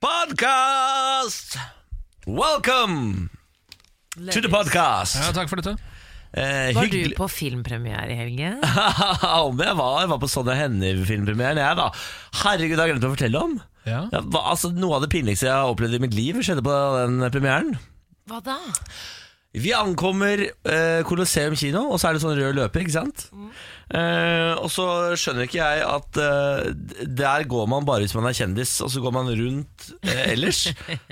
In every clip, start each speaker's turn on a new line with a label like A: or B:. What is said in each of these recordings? A: Podcast! Welcome to the podcast!
B: Ja, takk for dette.
A: Eh,
C: Var du
A: hyggelig-
C: på filmpremiere i helgen?
A: Om jeg var, jeg var på Sonja Hennie-filmpremieren, jeg, da. Herregud, det har jeg glemt å fortelle om.
B: Ja.
A: Ja, hva- altså, noe av det pinligste jeg har opplevd i mitt liv, skjedde på den premieren.
C: Hva da?
A: Vi ankommer eh, Colosseum kino, og så er det sånn rød løper, ikke sant? Eh, og så skjønner ikke jeg at eh, d- der går man bare hvis man er kjendis, og så går man rundt eh, ellers.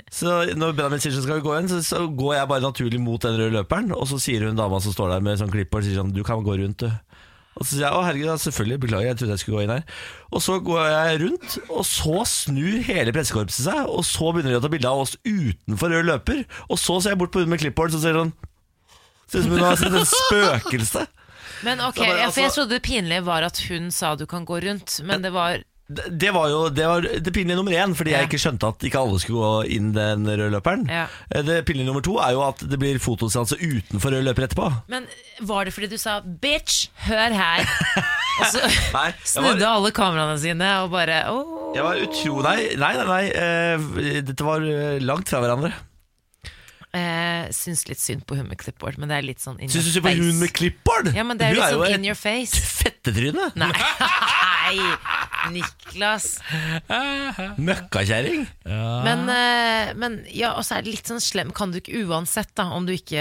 A: så når Benjamin sier sånn skal vi gå igjen, så, så går jeg bare naturlig mot den røde løperen, og så sier hun dama som står der med sånn klippbord, sier sånn du kan gå rundt, du. Og så sier jeg å herregud, ja, selvfølgelig, beklager, jeg trodde jeg skulle gå inn her. Og så går jeg rundt, og så snur hele pressekorpset seg, og så begynner de å ta bilde av oss utenfor rød løper, og så ser jeg bort på hun med klippbord, så ser hun sånn Ser ut som hun har sett et spøkelse.
C: Men ok,
A: Det var
C: ja,
A: altså-
C: for Jeg trodde det pinlige var at hun sa du kan gå rundt, men det var
A: Det, det var jo det, var det pinlige nummer én, fordi
C: Ja.
A: jeg ikke skjønte at ikke alle skulle gå inn den røde løperen.
C: Ja.
A: Eh, Det pinlige nummer to er jo at det blir fotoseanse utenfor rød løper etterpå.
C: Men var det fordi du sa 'bitch, hør her'? Og så
A: Nei, jeg var-
C: snudde alle kameraene sine og bare åh.
A: Jeg var utro... Nei, nei, nei. nei eh, dette var eh, langt fra hverandre.
C: Eh, syns litt synd på hun med klippbord, men det er litt sånn in
A: Syns du
C: your
A: synd på
C: face.
A: hun med klippbord?
C: Ja, men det er jo
A: hun
C: litt sånn
A: et
C: in your face.
A: fettetryne.
C: Nei. Nei, Niklas.
A: Møkkakjerring.
C: Men, eh, men ja, og så er det litt sånn slem Kan du ikke uansett, da, om du ikke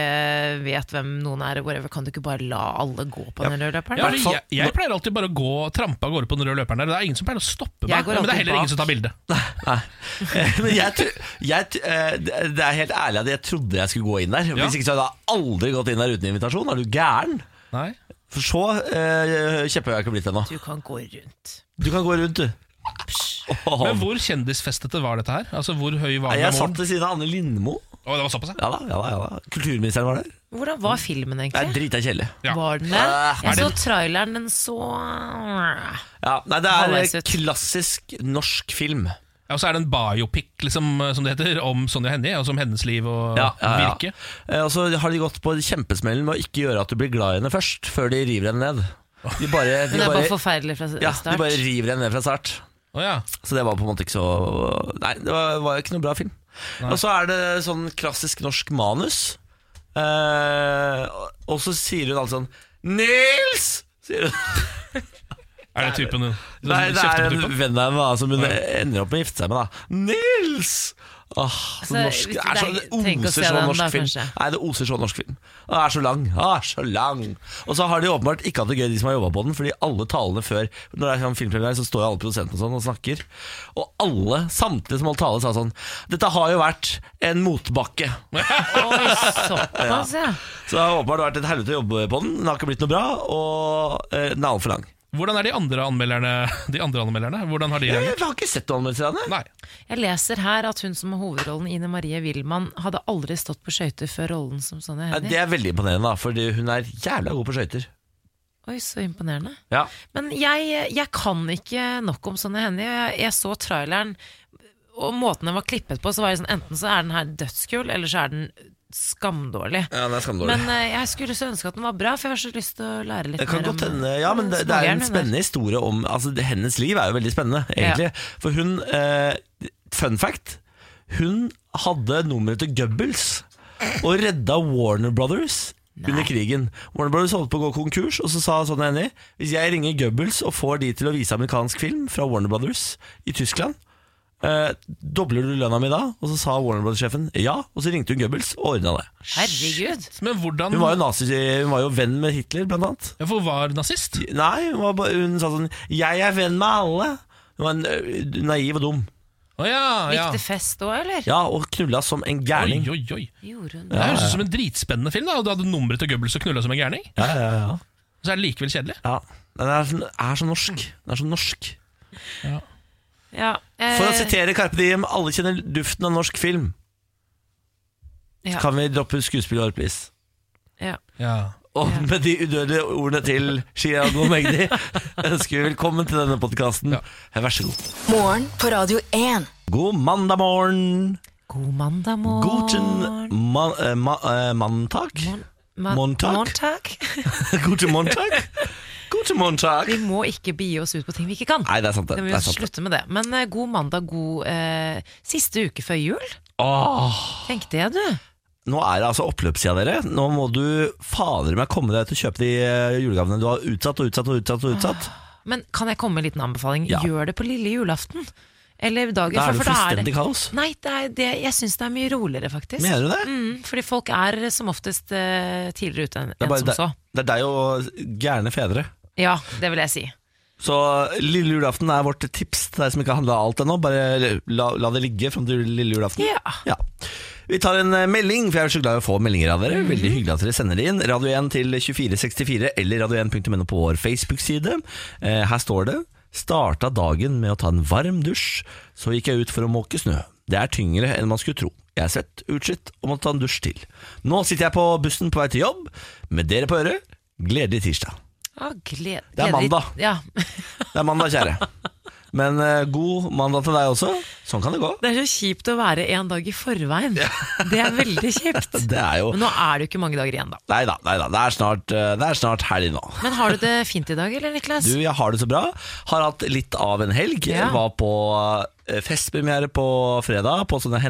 C: vet hvem noen er, og whatever, kan du ikke bare la alle gå på den røde løperen?
B: Ja,
C: da?
B: men jeg, jeg pleier alltid bare å gå trampe av gårde på den røde løperen der. Det er ingen som pleier å stoppe
C: Jeg
B: meg,
C: går
B: men det er
C: alltid
B: heller
C: bak.
B: ingen som tar bilde.
A: Nei. Eh, Men jeg, tr- jeg, tr- eh, det det er helt ærlig at jeg trodde jeg skulle gå inn der.
B: Ja.
A: Hvis ikke så hadde jeg aldri gått inn der uten invitasjon. Er du gæren?
B: Nei.
A: For så eh, kjepphøy har jeg ikke blitt ennå.
C: Du kan gå rundt.
A: Du kan gå rundt, du. Åh.
B: Men hvor kjendisfestete var dette her? Altså, Hvor høy var
A: Nei, jeg satt
B: glamoren?
A: ved siden av Anne Lindmo.
B: Å, det var såpass, ja.
A: Ja da, ja da, ja da. Kulturministeren var der.
C: Hvordan var filmen,
A: Det er
C: egentlig?
A: drita kjedelig.
B: Ja.
C: Var den det?
A: Ah,
B: er
C: Jeg så
B: det-
C: traileren, men så
A: Ja, nei, det
C: Halvveis
A: er
C: ut.
A: klassisk norsk film.
B: ja. Og så er det en biopic, liksom, som det heter, om Sonja Hennie, altså om hennes liv og
A: Ja, ja, ja.
B: virke.
A: Eh, Og så har de gått på kjempesmellen med å ikke gjøre at du blir glad i henne først, før de river henne ned. De bare, de
C: Den er bare
A: bare,
C: forferdelig fra
A: ja,
C: start.
A: de bare river henne ned fra start.
B: Å ja.
A: Så det var på en måte ikke så Nei, det var, var ikke noe bra film. Og så er det sånn klassisk norsk manus. Eh, og- og så sier hun alltid sånn Nils! Sier hun.
B: Er det typen hun
A: Nei, det er en
B: kjefter på typen?
A: venn av henne da, som hun ender opp med å gifte seg med. da Nils! Åh, så
C: Altså,
A: norsk,
C: hvis
A: det, er
C: du-
A: så, det
C: det er- tenk å
A: oser
C: se
A: sånn
C: den
A: norsk
C: da,
A: film.
C: kanskje.
A: Nei, det oser sånn norsk film. Den er så lang. Ah, så lang Og så har de åpenbart ikke hatt det gøy, de som har jobba på den, fordi alle talene før Når det er sånn filmpremiere, så står jo alle produsentene og sånn og snakker. Og alle, samtlige som holdt tale, sa sånn Dette har jo vært en motbakke.
C: Oi, såpass, ja.
A: Så det har åpenbart vært et helvete å jobbe på den. Den har ikke blitt noe bra, og eh, den er altfor lang.
B: Hvordan er de andre anmelderne? De andre anmelderne? Hvordan har de
A: Jeg,
B: reagert?
A: jeg har ikke sett noen anmeldelser av den. jeg.
B: Nei.
C: Jeg leser her at hun som har hovedrollen, Ine Marie Wilman, hadde aldri stått på skøyter før rollen som Sonja
A: Ja, det
C: Hennie.
A: er veldig imponerende, da, fordi hun er jævla god på skøyter.
C: Oi, så imponerende.
A: Ja.
C: Men jeg, jeg kan ikke nok om Sonja Hennie. Jeg, jeg så traileren, og måten den var klippet på, så var det sånn enten så er den her dødskul, eller så er den skamdårlig.
A: den er
C: Men eh, jeg skulle så ønske at den var bra, for jeg har så lyst til å lære litt
A: det kan
C: mer
A: godt hende, ja, men det, det er
C: smågæren
A: en
C: hun
A: spennende historie om altså, det- Hennes liv er jo veldig spennende, egentlig. For hun eh, Fun fact. Hun hadde nummeret til Goebbels og redda Warner Brothers under krigen. Warner Brothers holdt på å gå konkurs, og så sa sånn Henny Hvis jeg ringer Goebbels og får de til å vise amerikansk film fra Warner Brothers i Tyskland eh, Dobler du lønna mi da? Og så sa Warner Brothers-sjefen ja, og så ringte hun Goebbels og ordna det.
C: Herregud.
B: Men hvordan
A: Hun var jo nazi, hun var jo venn med Hitler, blant annet.
B: Ja, for hun var nazist?
A: Nei, hun, var bare, hun sa sånn 'Jeg er venn med alle'. Hun var en, ø, naiv og dum.
B: Å ja,
C: Gikk
B: ja.
C: det fest òg, eller?
A: Ja, og knulla som en
B: Oi,
A: gærning.
B: oi, oi.
C: Gjorde hun
B: Det
C: det?
B: høres ut som en dritspennende film. da Og Du hadde nummeret til Goebbels og knulla som en gærning.
A: Ja, ja, ja.
B: Så er det likevel kjedelig.
A: ja. Den er, sånn- er så norsk. Den er så norsk.
C: Ja, eh,
A: For å sitere Carpe Diem, alle kjenner duften av norsk film.
C: ja,
A: Kan vi droppe skuespillet, please?
C: ja.
B: Ja.
A: Og
C: Ja.
A: med de udødelige ordene til Shiago Magdi ønsker vi velkommen til denne podkasten.
B: Ja.
A: Vær så god.
D: Morgen på Radio 1.
A: God mandag morgen.
C: God mandag morgen.
A: Guten ma eh, ma eh, manntag.
C: Ma-
A: Montag.
C: Montag.
A: Guten Montag. Guten Montag.
C: Vi må ikke begi oss ut på ting vi ikke kan.
A: Nei, det er sant, det.
C: Da må
A: det
C: vi
A: er sant det.
C: slutte med det. Men eh, god mandag, god eh, siste uke før jul.
A: Åh.
C: Tenkte jeg, du.
A: Nå er det altså oppløpssida, dere. Nå må du fader meg komme deg ut og kjøpe de eh, julegavene du har utsatt og utsatt og utsatt. og utsatt.
C: Men kan jeg komme med en liten anbefaling?
A: Ja.
C: Gjør det på lille julaften. Eller dagen
A: Da
C: før,
A: er det
C: for da er
A: fullstendig
C: det
A: kaos.
C: Nei, det er det, jeg syns det er mye roligere, faktisk.
A: Mener du det?
C: Mm, fordi folk er eh, som oftest eh, tidligere ute
A: Det
C: enn
A: er,
C: enn
A: bare,
C: som så.
A: det, det er deg og gærne fedre.
C: Ja, det vil jeg si.
A: Så lille julaften er vårt tips til deg som ikke har handla alt ennå. Bare la, la det ligge fram til lille julaften.
C: Ja.
A: Vi tar en eh, melding, for jeg er så glad i å få meldinger av dere. Veldig hyggelig at dere sender det inn. Radio 1 til 2464 eller radio1.no på vår Facebook-side. Eh, her står det Starta dagen med å ta en varm dusj, så gikk jeg ut for å måke snø. Det er tyngre enn man skulle tro. Jeg er svett, utslitt og må ta en dusj til. Nå sitter jeg på bussen på vei til jobb, med dere på øret. Gledelig tirsdag.
C: Ah, gled,
A: Det er
C: gleder-
A: mandag.
C: Ja.
A: Det er mandag, kjære. Men eh, god mandag til deg også. Sånn kan det gå.
C: Det er så kjipt å være en dag i forveien. Det er veldig kjipt.
A: Det er jo
C: Men nå er det jo ikke mange dager igjen, da.
A: Nei da, nei da. Det er snart, eh, det er snart helg nå.
C: Men har du det fint i dag, eller, Niklas?
A: Du, jeg har det så bra. Har hatt litt av en helg.
C: Ja.
A: Var på eh, festpremiere på fredag på sånne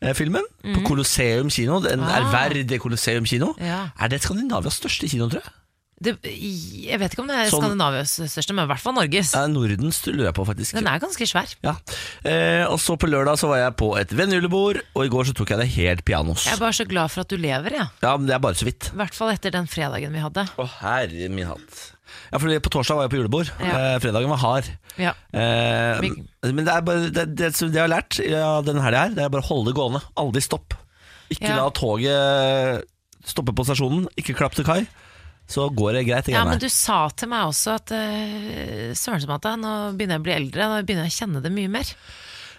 A: Henny-filmen. På Colosseum kino. Den
C: Mhm. Ah.
A: ærverdige Colosseum kino.
C: Ja.
A: Er det Skandinavias største kino, tror jeg?
C: Det, jeg vet ikke om det er
A: Sånn-
C: Skandinavias største, men i hvert fall Norges.
A: Eh, Nordens lurer jeg på, faktisk.
C: Den er ganske svær.
A: Ja. Eh, og så på lørdag så var jeg på et vennejulebord, og i går så tok jeg det helt pianos.
C: Jeg er bare så glad for at du lever, jeg.
A: Ja, men det er bare så vidt.
C: I hvert fall etter den fredagen vi hadde.
A: Å, herre min hatt. Ja, for på torsdag var jeg på julebord.
C: Ja.
A: Eh, fredagen var hard.
C: Ja.
A: Eh,
C: Vi-
A: men det er bare det, det, som jeg har lært ja, denne helga her, det er bare å holde det gående. Aldri stopp. Ikke
C: Ja.
A: la toget stoppe på stasjonen. Ikke klapp til kai. Så går det greit. det
C: Ja,
A: greiene
C: men
A: her.
C: du sa til meg også at eh, Søren som at da, nå begynner jeg å bli eldre, nå begynner jeg å kjenne det mye mer.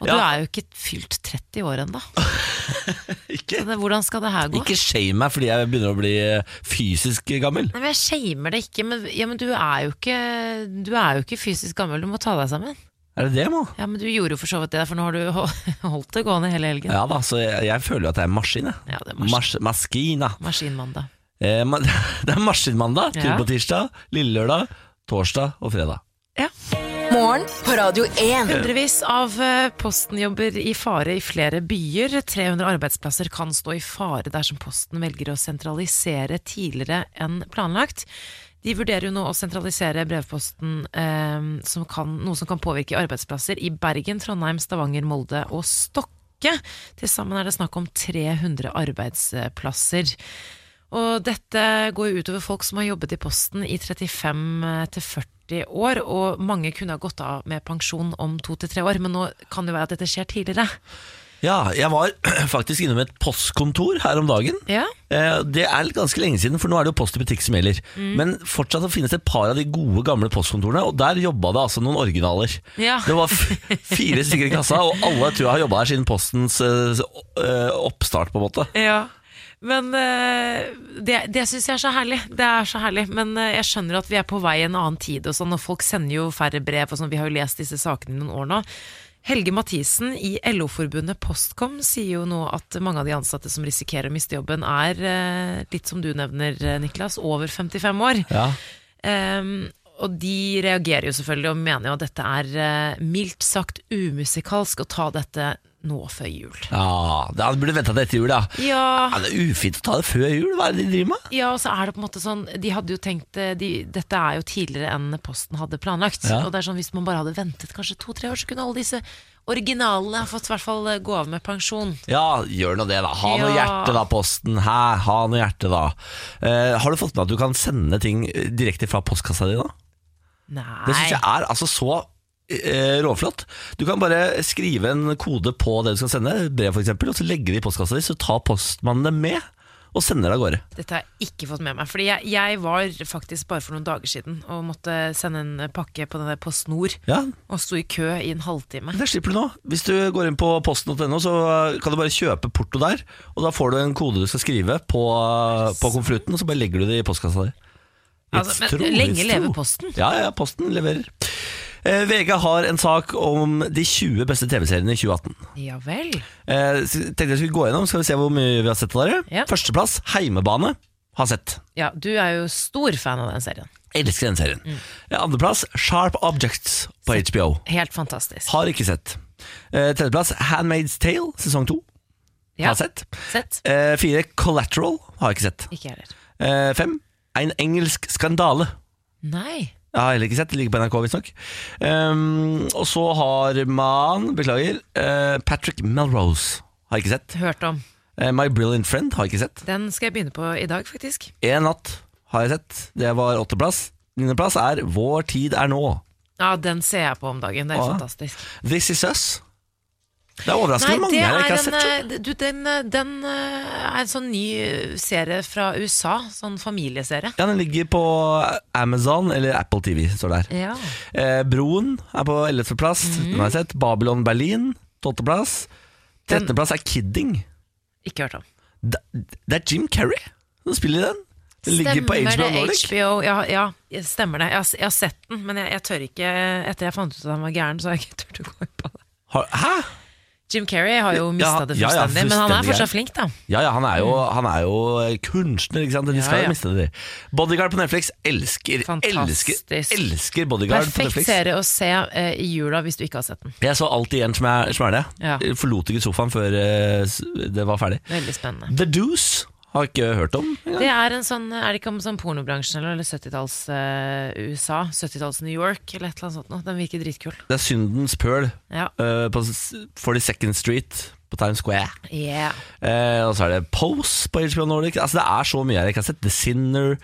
C: Og du
A: Ja.
C: er jo ikke fylt 30 år ennå.
A: Ikke,
C: Hvordan skal det her gå?
A: ikke shame meg fordi jeg begynner å bli eh, fysisk gammel.
C: Nei, men Jeg shamer det ikke, men, ja, men du, er jo ikke, du er jo ikke fysisk gammel. Du må ta deg sammen.
A: Er det det, Mo?
C: Ja, Men du gjorde jo for så vidt det, for nå har du hol- holdt det gående hele helgen.
A: Ja da, så jeg, jeg føler jo at jeg er en maskin. jeg.
C: Ja, det er mas
A: Mas maskina.
C: Maskinmandag.
A: Eh, ma det er maskinmandag. Tur
C: Ja.
A: på tirsdag, lille lørdag, torsdag og fredag.
D: Morgen på Radio 1.
C: Hundrevis av eh, postenjobber i fare i flere byer. 300 arbeidsplasser kan stå i fare dersom Posten velger å sentralisere tidligere enn planlagt. De vurderer jo nå å sentralisere brevposten, eh, som kan, noe som kan påvirke arbeidsplasser i Bergen, Trondheim, Stavanger, Molde og Stokke. Til sammen er det snakk om 300 arbeidsplasser. Og dette går jo utover folk som har jobbet i Posten i 35-40 år, og mange kunne ha gått av med pensjon om to til tre år, men nå kan det jo være at dette skjer tidligere.
A: Ja, jeg var faktisk innom et postkontor her om dagen.
C: Ja,
A: Eh, Det er ganske lenge siden, for nå er det jo post i butikk som gjelder. Men fortsatt så finnes det et par av de gode, gamle postkontorene, og der jobba det altså noen originaler.
C: Ja.
A: Det var f- fire stykker i kassa, og alle tror jeg har jobba her siden postens eh, s- eh, oppstart, på en måte.
C: ja. Men eh, det, det syns jeg er så herlig. Det er så herlig. Men eh, jeg skjønner at vi er på vei i en annen tid, og sånn, og folk sender jo færre brev. Og sånn. Vi har jo lest disse sakene i noen år nå. Helge Mathisen i LO-forbundet Postkom sier jo nå at mange av de ansatte som risikerer å miste jobben, er, eh, litt som du nevner, eh, Niklas, over 55 år.
A: Ja.
C: Ehm, og de reagerer jo selvfølgelig og mener jo at dette er eh, mildt sagt umusikalsk å ta dette nå før jul.
A: ja da burde venta til etter jul, ja.
C: Ja,
A: ja. Det er ufint å ta det før jul, hva er det de driver med?
C: ja, og så er det på en måte sånn De hadde jo tenkt eh, de, Dette er jo tidligere enn Posten hadde planlagt.
A: Ja.
C: Og det er sånn Hvis man bare hadde ventet kanskje to-tre år, så kunne alle disse originalene ha fått i hvert fall eh, gå av med pensjon.
A: Ja, gjør nå det, da. Ha noe
C: Ja.
A: hjerte, da, Posten. Hæ, ha noe hjerte, da. Eh, har du fått med at du kan sende ting eh, direkte fra postkassa di, da?
C: Nei.
A: Det syns jeg er altså så eh, råflott. Du kan bare skrive en kode på det du skal sende, et brev f.eks., og så legge det i postkassa di, så tar postmannen det med. og sender det av gårde.
C: Dette har jeg ikke fått med meg. Fordi jeg, jeg var faktisk bare for noen dager siden og måtte sende en pakke på, den der, på snor.
A: Ja,
C: Og sto i kø i en halvtime.
A: Det slipper du nå. Hvis du går inn på posten.no, så eh, kan du bare kjøpe porto der. Og da får du en kode du skal skrive på, eh, på konvolutten, og så bare legger du det i postkassa di.
C: Altså, men
A: Livstro,
C: lenge
A: livstro.
C: leve Posten.
A: Ja, ja, Posten leverer. Eh, VG har en sak om de 20 beste TV-seriene i 2018.
C: Ja vel.
A: Eh, så tenkte jeg skulle gå gjennom, skal vi se hvor mye vi har sett av dere.
C: Ja.
A: Førsteplass, Heimebane. Har sett.
C: Ja, du er jo stor fan av den serien.
A: Elsker den serien.
C: Mm.
A: Eh, Andreplass, Sharp Objects på HBO.
C: Helt fantastisk.
A: Har ikke sett. Eh, Tredjeplass, Handmaid's Tale sesong to.
C: Ja,
A: Har sett.
C: sett.
A: Eh, fire, Collateral. Har ikke sett.
C: Ikke jeg heller.
A: Eh, fem, En engelsk skandale.
C: Nei.
A: Jeg har heller ikke sett, det ligger på NRK visstnok. Um, og så har man, beklager, eh, Patrick Melrose. Har ikke sett.
C: Hørt om.
A: Eh, My Brilliant Friend har ikke sett.
C: Den skal jeg begynne på i dag, faktisk.
A: Én natt har jeg sett. Det var åtteplass. Niendeplass er Vår tid er nå.
C: Ja, den ser jeg på om dagen. Det er
A: Å, ja.
C: fantastisk.
A: This is us. Det er overraskende mange
C: det
A: jeg ikke har
C: en,
A: sett. skjønner
C: eh, du, den, eh, den eh, er en sånn ny eh, serie fra USA. Sånn familieserie.
A: du. Ja, Den ligger på Amazon eller Apple TV, står det her.
C: Ja.
A: Eh, Broen er på 11. plass.
C: Mhm.
A: Den har jeg sett. Babylon Berlin, 12. plass. 13. plass er Kidding.
C: Ikke hørt om.
A: Da- Det er Jim Carrey som spiller i den. Den ligger på HBO Nordic.
C: HBO? Ja, ja, stemmer det. Jeg, har- jeg har sett den, men jeg, jeg tør ikke Etter jeg fant ut at han var gæren, så har jeg ikke turt å gå inn på det.
A: Har- Hæ?
C: Jim Carrey har jo mista det
A: ja, ja,
C: fullstendig, men han
A: fullstendig
C: er
A: gæren.
C: fortsatt flink, da.
A: Ja, ja, han er jo, han er jo eh, kunstner, ikke sant? De skal
C: Mm. Ja,
A: jo
C: ja.
A: miste det. Bodyguard på Netflix. Elsker, elsker,
C: Fantastisk.
A: elsker Bodyguard på
C: Perfekt
A: Netflix.
C: serie å se eh, i jula hvis du ikke har sett den.
A: Jeg så alltid en som er, som er det.
C: Ja.
A: Forlot ikke sofaen før eh, s- det var ferdig.
C: Veldig spennende.
A: The Deuce har jeg ikke hørt om. engang.
C: Det er en sånn, er det ikke om sånn pornobransjen eller, eller 70-talls eh, USA? 70-talls New York eller et eller annet sånt noe. Den virker dritkul.
A: Det er Syndens Pøl
C: Ja.
A: eh, på s- 42nd Street på Times Square.
C: Yeah.
A: Eh, og så er det Pose på HBO Nordic. Altså, det er så mye her jeg ikke har sett. The Sinner,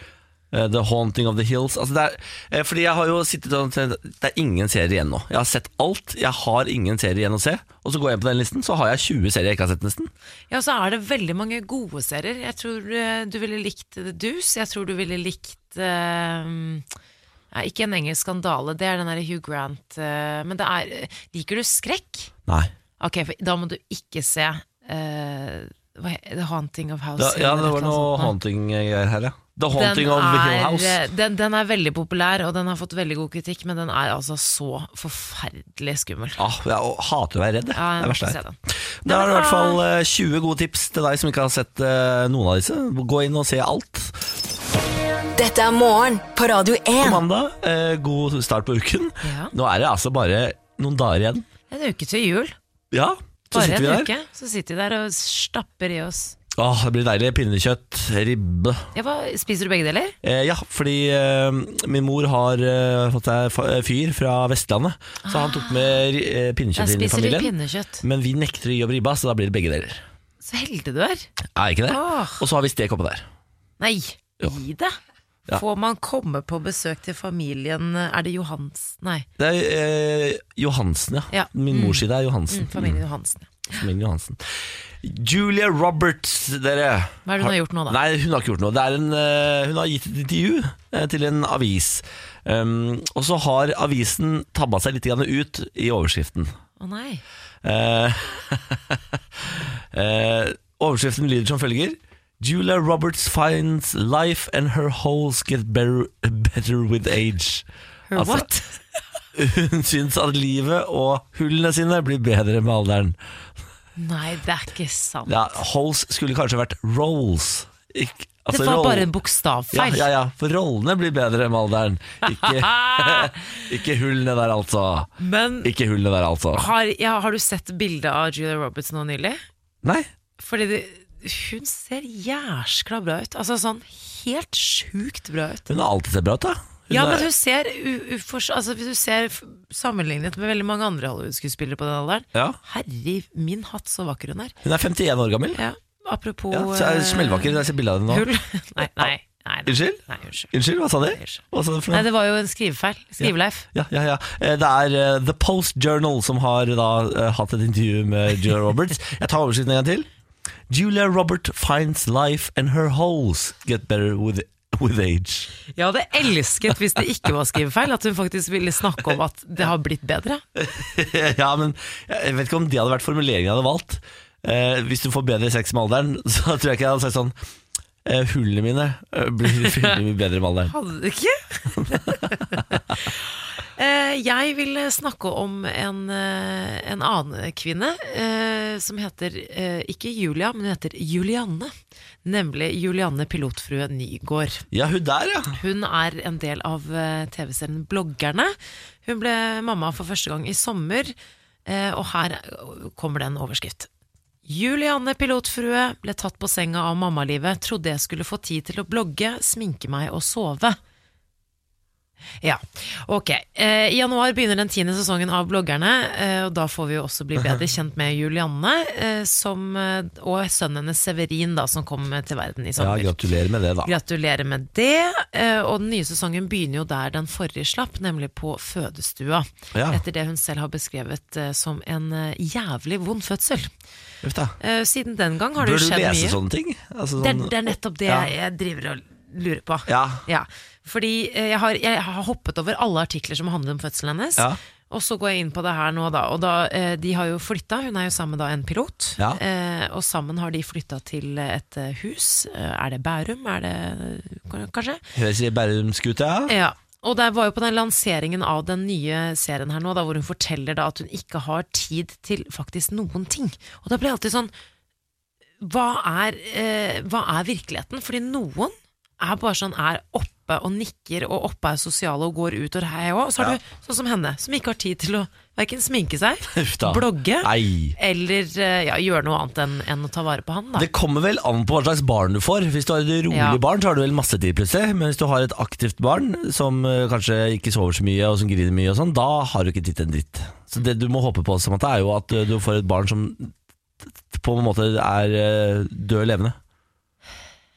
A: eh, The Haunting of the Hills. Altså, det er, eh, fordi jeg har jo sittet og tenkt det er ingen serier igjen nå. Jeg har sett alt. Jeg har ingen serier igjen å se. Og så går jeg inn på den listen, så har jeg 20 serier jeg ikke har sett, nesten.
C: Ja, så er det veldig mange gode serier. Jeg tror eh, du ville likt The Deuce. Jeg tror du ville likt eh, nei, Ikke en engelsk skandale, det er den derre Hugh Grant eh, Men det er eh, Liker du skrekk?
A: Nei.
C: Ok, for da må du ikke se eh, hva he- The Haunting of House
A: Da,
C: Hill
A: ja,
C: eller
A: det
C: et
A: var
C: eller annet
A: noe
C: sånt nå.
A: haunting-greier her, ja. The
C: sånn, Den
A: Haunting of Hill
C: er,
A: House.
C: eh, den, den er veldig populær, og den har fått veldig god kritikk, men den er altså så forferdelig skummel.
A: Ah, jeg hater å være redd. jeg.
C: Ja,
A: det er
C: jeg
A: verst
C: må
A: jeg
C: se
A: vet.
C: den.
A: Da er det i hvert fall eh, 20 gode tips til deg som ikke har sett eh, noen av disse. Gå inn og se alt.
D: Dette er morgen på Radio
A: på
D: 1.
A: mandag. Eh, god start på uken.
C: Ja.
A: Nå er det altså bare noen dager igjen.
C: En uke til jul.
A: Ja, så
C: Bare
A: sitter vi
C: en
A: der.
C: uke, så sitter vi der og stapper i oss.
A: Åh, det blir deilig. Pinnekjøtt, ribbe.
C: Ja, hva- spiser du begge deler?
A: Eh, ja, fordi eh, min mor har eh, fått seg fa- fyr fra Vestlandet, så han tok med ri- eh,
C: Ah. Jeg
A: pinnekjøtt inn i
C: spiser litt
A: familien.
C: pinnekjøtt.
A: Men vi nekter å gi opp ribba, så da blir det begge deler.
C: Så heldig du er.
A: Er ikke det?
C: Åh.
A: Og så har vi stek oppå der.
C: Nei,
A: Jo.
C: gi det.
A: Ja.
C: Får man komme på besøk til familien Er det Johans? Nei,
A: Det er eh, Johansen, ja.
C: Ja. Mm.
A: Min mors side er Johansen.
C: familien Johansen.
A: Familien Johansen. Julia Roberts, dere.
C: Hva er det hun har gjort nå, da?
A: Nei, Hun har ikke gjort noe. Det er en, eh, hun har gitt et intervju eh, til en avis. Um, og så har avisen tabba seg litt grann ut i overskriften.
C: Å nei.
A: Eh, eh, overskriften lyder som følger. Julia Roberts finds life and her holes get better, better with age.
C: Her
A: Altså,
C: what?
A: Hun syns at livet og hullene sine blir bedre med alderen.
C: Nei, det er ikke sant.
A: Ja, holes skulle kanskje vært rolls. Ikk- altså
C: det var
A: roll-
C: bare en
A: Ja,
C: bokstavfeil.
A: ja, ja, for rollene blir bedre med alderen. Ikke,
C: Ah,
A: ikke hullene der, altså.
C: men
A: Ikke hullene der, altså.
C: har, ja, har du sett bildet av Julia Roberts nå nylig?
A: Nei,
C: Fordi det, hun ser jæskla bra ut. Altså sånn helt sjukt bra ut.
A: hun har alltid sett bra ut, da. Hun
C: Ja,
A: er-
C: men hun ser, u, ufors, altså, hvis du ser f- sammenlignet med veldig mange andre Hollywood-skuespillere på den alderen.
A: ja,
C: Herre min hatt, så vakker hun er.
A: hun er 51 år gammel.
C: Ja, apropos
A: Ja, så er
C: eh,
A: hun Smellvakker når jeg ser bilde av henne nå.
C: Hull. Nei, nei, nei, nei.
A: Unnskyld?
C: Nei, unnskyld.
A: Unnskyld, hva sa de?
C: Unnskyld.
A: Hva sa de for
C: Nei,
A: noe?
C: det var jo en skrivefeil. Skriveleif.
A: Ja, ja, ja. Eh, Det er eh, The Post Journal som har da eh, hatt et intervju med Julia Roberts. Jeg tar oversikten en gang til. Julia Robert finds life and her holes get better with, with age.
C: Jeg hadde elsket hvis det ikke var skrivefeil, at hun faktisk ville snakke om at det har blitt bedre.
A: ja, men jeg vet ikke om det hadde vært formuleringen jeg hadde valgt. Eh, hvis du får bedre sex med alderen, så tror jeg ikke jeg hadde sagt sånn eh, Hullene mine eh, blir fylt med bedre med alderen.
C: Hadde det ikke? Eh, Jeg vil snakke om en, eh, en annen kvinne eh, som heter eh, ikke Julia, men hun heter Julianne. Nemlig Julianne Pilotfrue Nygård.
A: Ja, hun der, ja.
C: Hun er en del av eh, TV-serien Bloggerne. Hun ble mamma for første gang i sommer, eh, og her kommer det en overskrift. Julianne Pilotfrue ble tatt på senga av mammalivet, trodde jeg skulle få tid til å blogge, sminke meg og sove. Ja, ok. Eh, I januar begynner den tiende sesongen av Bloggerne, eh, og da får vi jo også bli bedre kjent med Julianne eh, som, eh, og sønnen hennes Severin, da, som kom eh, til verden i
A: ja.
C: sommer.
A: Gratulerer med det, da.
C: Gratulerer med det. Eh, Og den nye sesongen begynner jo der den forrige slapp, nemlig på fødestua.
A: Ja.
C: Etter det hun selv har beskrevet eh, som en eh, jævlig vond fødsel.
A: Uff da.
C: Eh, Siden den gang har det
A: Bør
C: jo
A: du
C: skjedd mye.
A: lese sånne ting? Altså,
C: Det,
A: sånn,
C: er- det er nettopp det
A: Ja.
C: jeg- jeg driver og lurer på.
A: Ja.
C: Fordi eh, jeg har, jeg har hoppet over alle artikler som handler om fødselen hennes.
A: Ja.
C: Og så går jeg inn på det her nå, da. Og da, eh, de har jo flytta, hun er jo sammen med da en pilot.
A: Ja.
C: Eh, og sammen har de flytta til et eh, hus. Eh, Er det Bærum? Er det k- Kanskje?
A: Høres i Bærumskuta?
C: Ja. Og det var jo på den lanseringen av den nye serien her nå, da, hvor hun forteller da at hun ikke har tid til faktisk noen ting. Og da ble jeg alltid sånn hva er, eh, hva er virkeligheten? Fordi noen er bare sånn er oppe og nikker, og oppe er sosiale og går ut og hei òg. Og så har
A: Ja.
C: du sånn som henne, som ikke har tid til å verken sminke seg,
A: Uff da.
C: blogge
A: Nei.
C: eller eh, ja, gjøre noe annet enn, enn å ta vare på han. Da.
A: Det kommer vel an på hva slags barn du får. Hvis du har et rolig
C: Ja.
A: barn, så har du vel masse tid plutselig. Men hvis du har et aktivt barn som eh, kanskje ikke sover så mye og som griner mye, og sånn, da har du ikke tid til en dritt. Så det du må håpe på, som at det er jo at eh, du får et barn som t- på en måte er eh, død levende.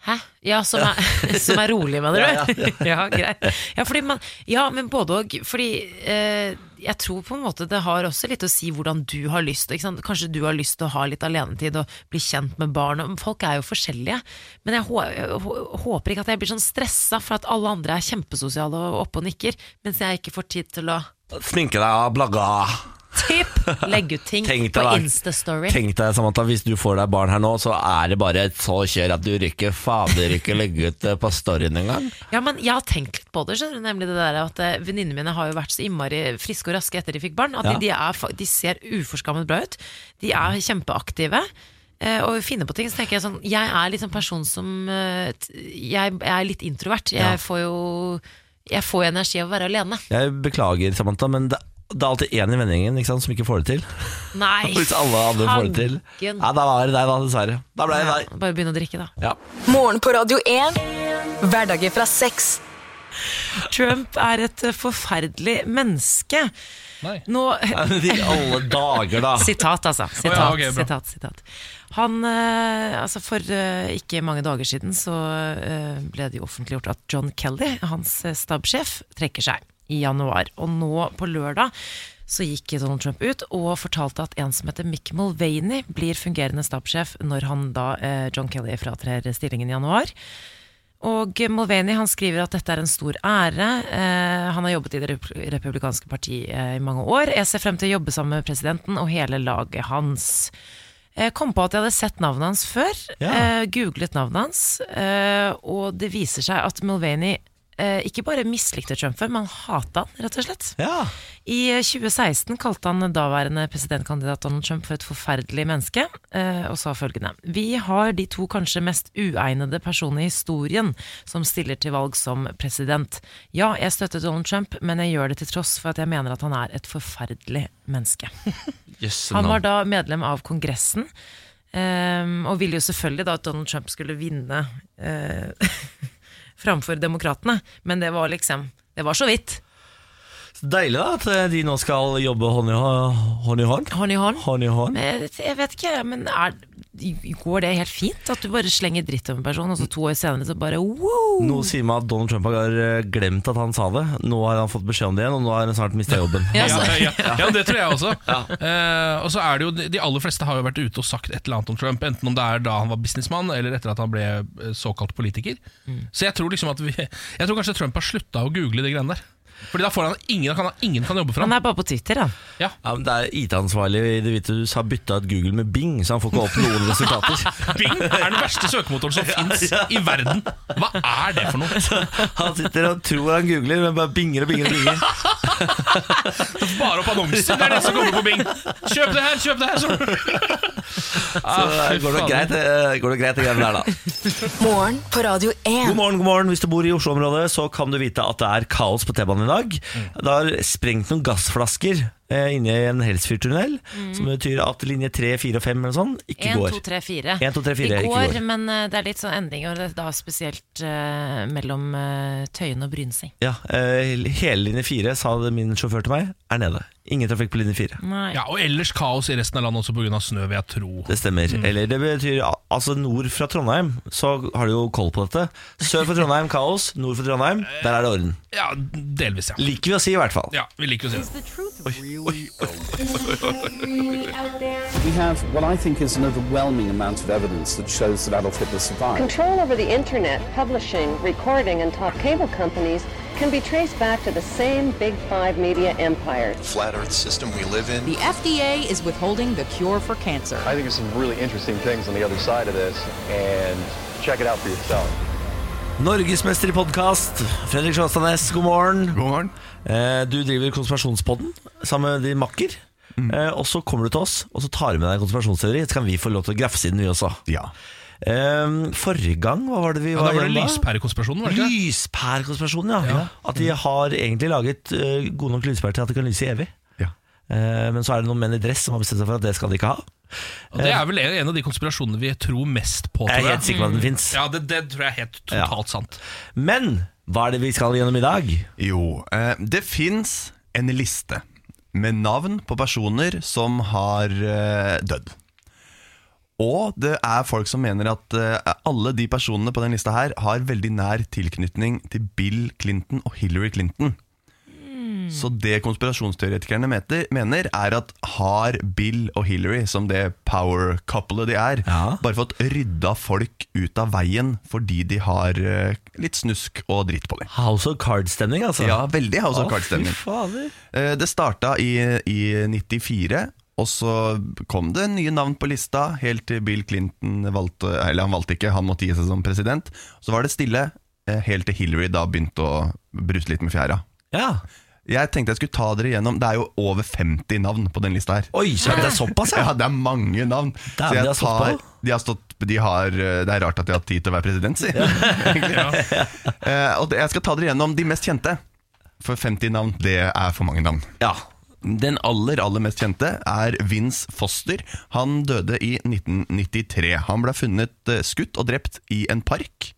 C: Hæ? Ja, som er, som er rolig, mener
A: Ja,
C: du? Ja, greit. Ja, fordi man, ja, men både og. Fordi eh, jeg tror på en måte det har også litt å si hvordan du har lyst. Ikke sant? Kanskje du har lyst til å ha litt alenetid og bli kjent med barn. og Folk er jo forskjellige. Men jeg, hå jeg hå- håper ikke at jeg blir sånn stressa for at alle andre er kjempesosiale og oppe og nikker, mens jeg ikke får tid til å
A: Sminke deg og blagge.
C: tipp, legge ut ting
A: Tenk deg
C: på
A: da.
C: Insta-story.
A: Tenk deg, Samantha, hvis du får deg barn her nå, så er det bare et så kjør at du rykker fader ikke legge ut eh, på storyen engang.
C: Ja, men jeg har tenkt litt på det, skjønner du, nemlig det der at eh, venninnene mine har jo vært så innmari friske og raske etter de fikk barn, at
A: Ja.
C: de, de, er, fa- de ser uforskammet bra ut, de er kjempeaktive, eh, og finner på ting, så tenker jeg sånn, jeg er litt sånn person som, eh, t- jeg, jeg er litt introvert, jeg
A: Ja.
C: får jo, jeg får jo energi av å være alene.
A: Jeg beklager, Samantha, men det, det er alltid én i vendingen ikke sant, som ikke får det til.
C: Nei,
A: Hvis alle andre får det til.
C: fanken.
A: Nei, da var det deg, da, dessverre. Da ble det deg.
C: Bare begynne å drikke da.
A: Ja.
D: Morgen på Radio 1. Hverdager fra seks.
C: Trump er et eh, forferdelig menneske.
B: Nei.
C: Nå...
A: I alle dager, da.
C: Sitat, altså.
B: Å
C: Sitat,
B: ja, ok, bra.
C: sitat, sitat. Han, eh, altså for eh, ikke mange dager siden så eh, ble det jo offentliggjort at John Kelly, hans eh, stabssjef, trekker seg i januar. Og nå på lørdag så gikk Donald Trump ut og fortalte at en som heter Mick Mulvaney blir fungerende stabssjef når han da, eh, John Kelly fratrer stillingen i januar. Og Mulvaney han skriver at dette er en stor ære. Eh, han har jobbet i Det rep- republikanske partiet eh, i mange år. Jeg ser frem til å jobbe sammen med presidenten og hele laget hans. Jeg kom på at jeg hadde sett navnet hans før.
A: Ja.
C: Eh, googlet navnet hans. Eh, og det viser seg at Mulvaney eh, ikke bare mislikte Trump før, men hata han, rett og slett.
A: Ja.
C: I 2016 kalte han daværende presidentkandidat Donald Trump for et forferdelig menneske, eh, og sa følgende Vi har de to kanskje mest uegnede personene i historien som stiller til valg som president. Ja, jeg støtter Donald Trump, men jeg gjør det til tross for at jeg mener at han er et forferdelig menneske.
A: Jøsse
C: Han var
A: navn.
C: da medlem av Kongressen, ehm, og ville jo selvfølgelig da at Donald Trump skulle vinne eh, framfor Demokratene, men det var liksom Det var så vidt.
A: Så Deilig da at eh, de nå skal jobbe hånd i hå- hånd. i hånd.
C: Hånd i hånd.
A: Hånd i hånd.
C: Men Jeg jeg vet ikke, men er, går det helt fint? At du bare slenger dritt om en person, og så to år senere så bare wow!
A: Noe sier meg at Donald Trump har eh, glemt at han sa det. Nå har han fått beskjed om det igjen, og nå har han snart mista jobben.
C: Ja,
B: Ja,
C: så-
B: ja, ja. ja, det tror jeg også. Eh, og så er det jo, De aller fleste har jo vært ute og sagt et eller annet om Trump, enten om det er da han var businessmann, eller etter at han ble eh, såkalt politiker. Så jeg tror liksom at vi Jeg tror kanskje Trump har slutta å google de greiene der. Fordi da får han ingen, da kan han, ingen kan jobbe for
C: Han
B: ham.
C: er bare på Twitter, da.
B: Ja.
A: Ja, men det er IT-ansvarlig i Det hvite hus har bytta ut Google med Bing, så han får ikke opp noen resultater.
B: Bing er den verste søkemotoren som fins i verden. Hva er det for noe?
A: Han sitter og tror han googler, men bare binger og binger. og binger
B: Bare opp annonser, det er det som kommer på Bing. Kjøp det her, kjøp det her! Så, Ah,
A: Så eh, går det nok greit, eh, går det greit, det greiene der, da.
D: Morgen på Radio
A: God
D: 1.
A: morgen, god morgen. Hvis du bor i Oslo-området, så kan du vite at det er kaos på T-banen i dag. Det har sprengt noen gassflasker eh, inne i en Helsfyrtunnel, som betyr at linje 3, 4 og 5 eller sånn ikke
C: 1,
A: går.
C: 2, 3, 4.
A: En, to, tre, fire,
C: De
A: ikke
C: går,
A: går.
C: men eh, det er litt sånn endring, og det er da spesielt eh, mellom eh, Tøyen og Brynseng.
A: Ja, eh, hele linje 4, sa det min sjåfør til meg, er nede. Ingen trafikk på linje 4.
C: Nei.
B: ja, og ellers kaos i resten av landet også pga. snø, vil jeg tro.
A: Det stemmer. Eller det betyr al- altså nord fra Trondheim, så har du jo koll på dette. Sør for Trondheim kaos, nord for Trondheim, der er det orden.
B: Ja, delvis, ja.
A: Liker vi å si, i hvert fall.
B: Ja, Vi liker å si det.
E: We have what I think is an overwhelming amount of evidence that shows that Adolf Hitler survived.
F: Control over the internet, publishing, recording, and top cable companies can be traced back to the same Big Five media empires.
G: flat earth system we live in.
H: The FDA is withholding the cure for cancer.
I: I think there's some really interesting things on the other side of this, and check it out for yourself.
A: Norgesmester i podkast, Fredrik Sjåstadnes, god morgen.
J: God morgen.
A: Eh, Du driver konspirasjonspodden sammen med din makker.
J: Mm.
A: Eh, Og så kommer du til oss, og så tar du med deg en konspirasjonsteori. Så kan vi få lov til å grafse i den, vi også.
J: Ja.
A: Eh, Forrige gang, hva var det vi
B: Ja, da
A: var
B: var det
A: igjennom
B: lyspærekonspirasjonen, var det ikke Mm. det?
A: Lyspærekonspirasjonen, ja. At de har egentlig laget eh, gode nok lyspærer til at det kan lyse evig.
J: Ja.
A: Eh, Men så er det noen menn i dress som har bestemt seg for at det skal de ikke ha.
B: Og det er vel en av de konspirasjonene vi tror mest på.
A: Jeg
B: tror
A: er helt sikker på at den
B: Mm.
A: fins.
B: Ja, det, det tror jeg er helt totalt sant.
A: Men hva er det vi skal gjennom i dag?
J: Jo, eh, det fins en liste med navn på personer som har eh, dødd. Og det er folk som mener at eh, alle de personene på den lista her har veldig nær tilknytning til Bill Clinton og Hillary Clinton. Så det konspirasjonsteoretikerne meter, mener, er at har Bill og Hillary, som det power couplet de er,
A: Ja.
J: bare fått rydda folk ut av veien fordi de har eh, litt snusk og dritt på dem?
A: House of Cards-stemning, altså.
J: Ja, veldig House
A: Å,
J: of Cards-stemning.
A: Fy fader.
J: Eh, Det starta i, i 94, og så kom det nye navn på lista, helt til Bill Clinton valgte Eller han valgte ikke, han måtte gi seg som president. Så var det stille, eh, helt til Hillary da begynte å bruse litt med fjæra.
A: Ja.
J: Jeg tenkte jeg skulle ta dere gjennom Det er jo over 50 navn på den lista her.
A: Oi, så det er såpass, ja.
J: Ja, det er mange navn.
A: Damn,
J: jeg
A: de har stått på.
J: de har stått, de har, eh, det er rart at de har hatt tid til å være president, si. Eh, og det- jeg skal ta dere gjennom de mest kjente. For 50 navn, det er for mange navn.
A: ja.
J: Den aller, aller mest kjente er Vince Foster. Han døde i 1993. Han ble funnet eh, skutt og drept i en park.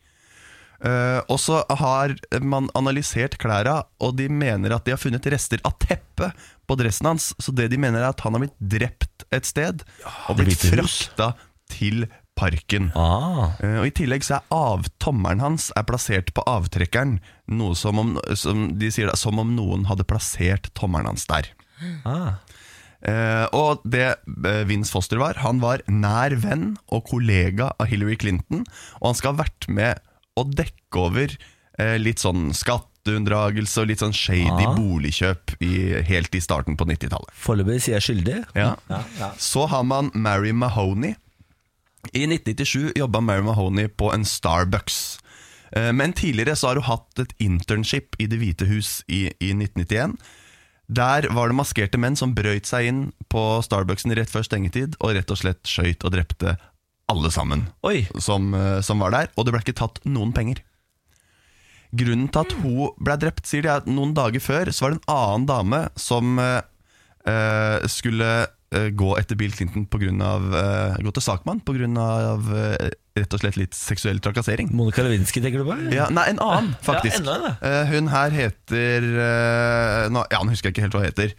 J: Eh, og så har man analysert klærne, og de mener at de har funnet rester av teppet på dressen hans. Så det de mener er at han har blitt drept et sted, og
A: Det
J: blitt
A: hvite hus.
J: frakta til parken.
A: Ah.
J: Eh, Og I tillegg så er av, tommelen hans er plassert på avtrekkeren, noe som om, som de sier da, som om noen hadde plassert tommelen hans der.
A: ah.
J: Eh, og det eh, Vince Foster var, han var nær venn og kollega av Hillary Clinton, og han skal ha vært med å dekke over eh, litt sånn skatteunndragelse og litt sånn shady boligkjøp i, helt i starten på 90-tallet.
A: Foreløpig sier jeg skyldig.
J: Ja. Så har man Mary Mahoney. I 1997 jobba Mary Mahoney på en Starbucks. Eh, Men tidligere så har hun hatt et internship i Det hvite hus i, i 1991. Der var det maskerte menn som brøyt seg inn på Starbucksen rett før stengetid og rett og slett skøyt og drepte alle sammen
A: Oi.
J: som, eh, som var der, og det ble ikke tatt noen penger. Grunnen til at hun ble drept, sier de, er at noen dager før så var det en annen dame som eh, eh, skulle eh, gå etter Bill Clinton på grunn av, eh, gå til sakmann pga. Uh, rett og slett litt seksuell trakassering.
A: Monica Lewinsky, tenker du på?
J: Ja, nei, en annen, faktisk.
A: Ja, enda en,
J: Eh, hun her heter eh, nå, Ja, nå husker jeg ikke helt hva hun heter.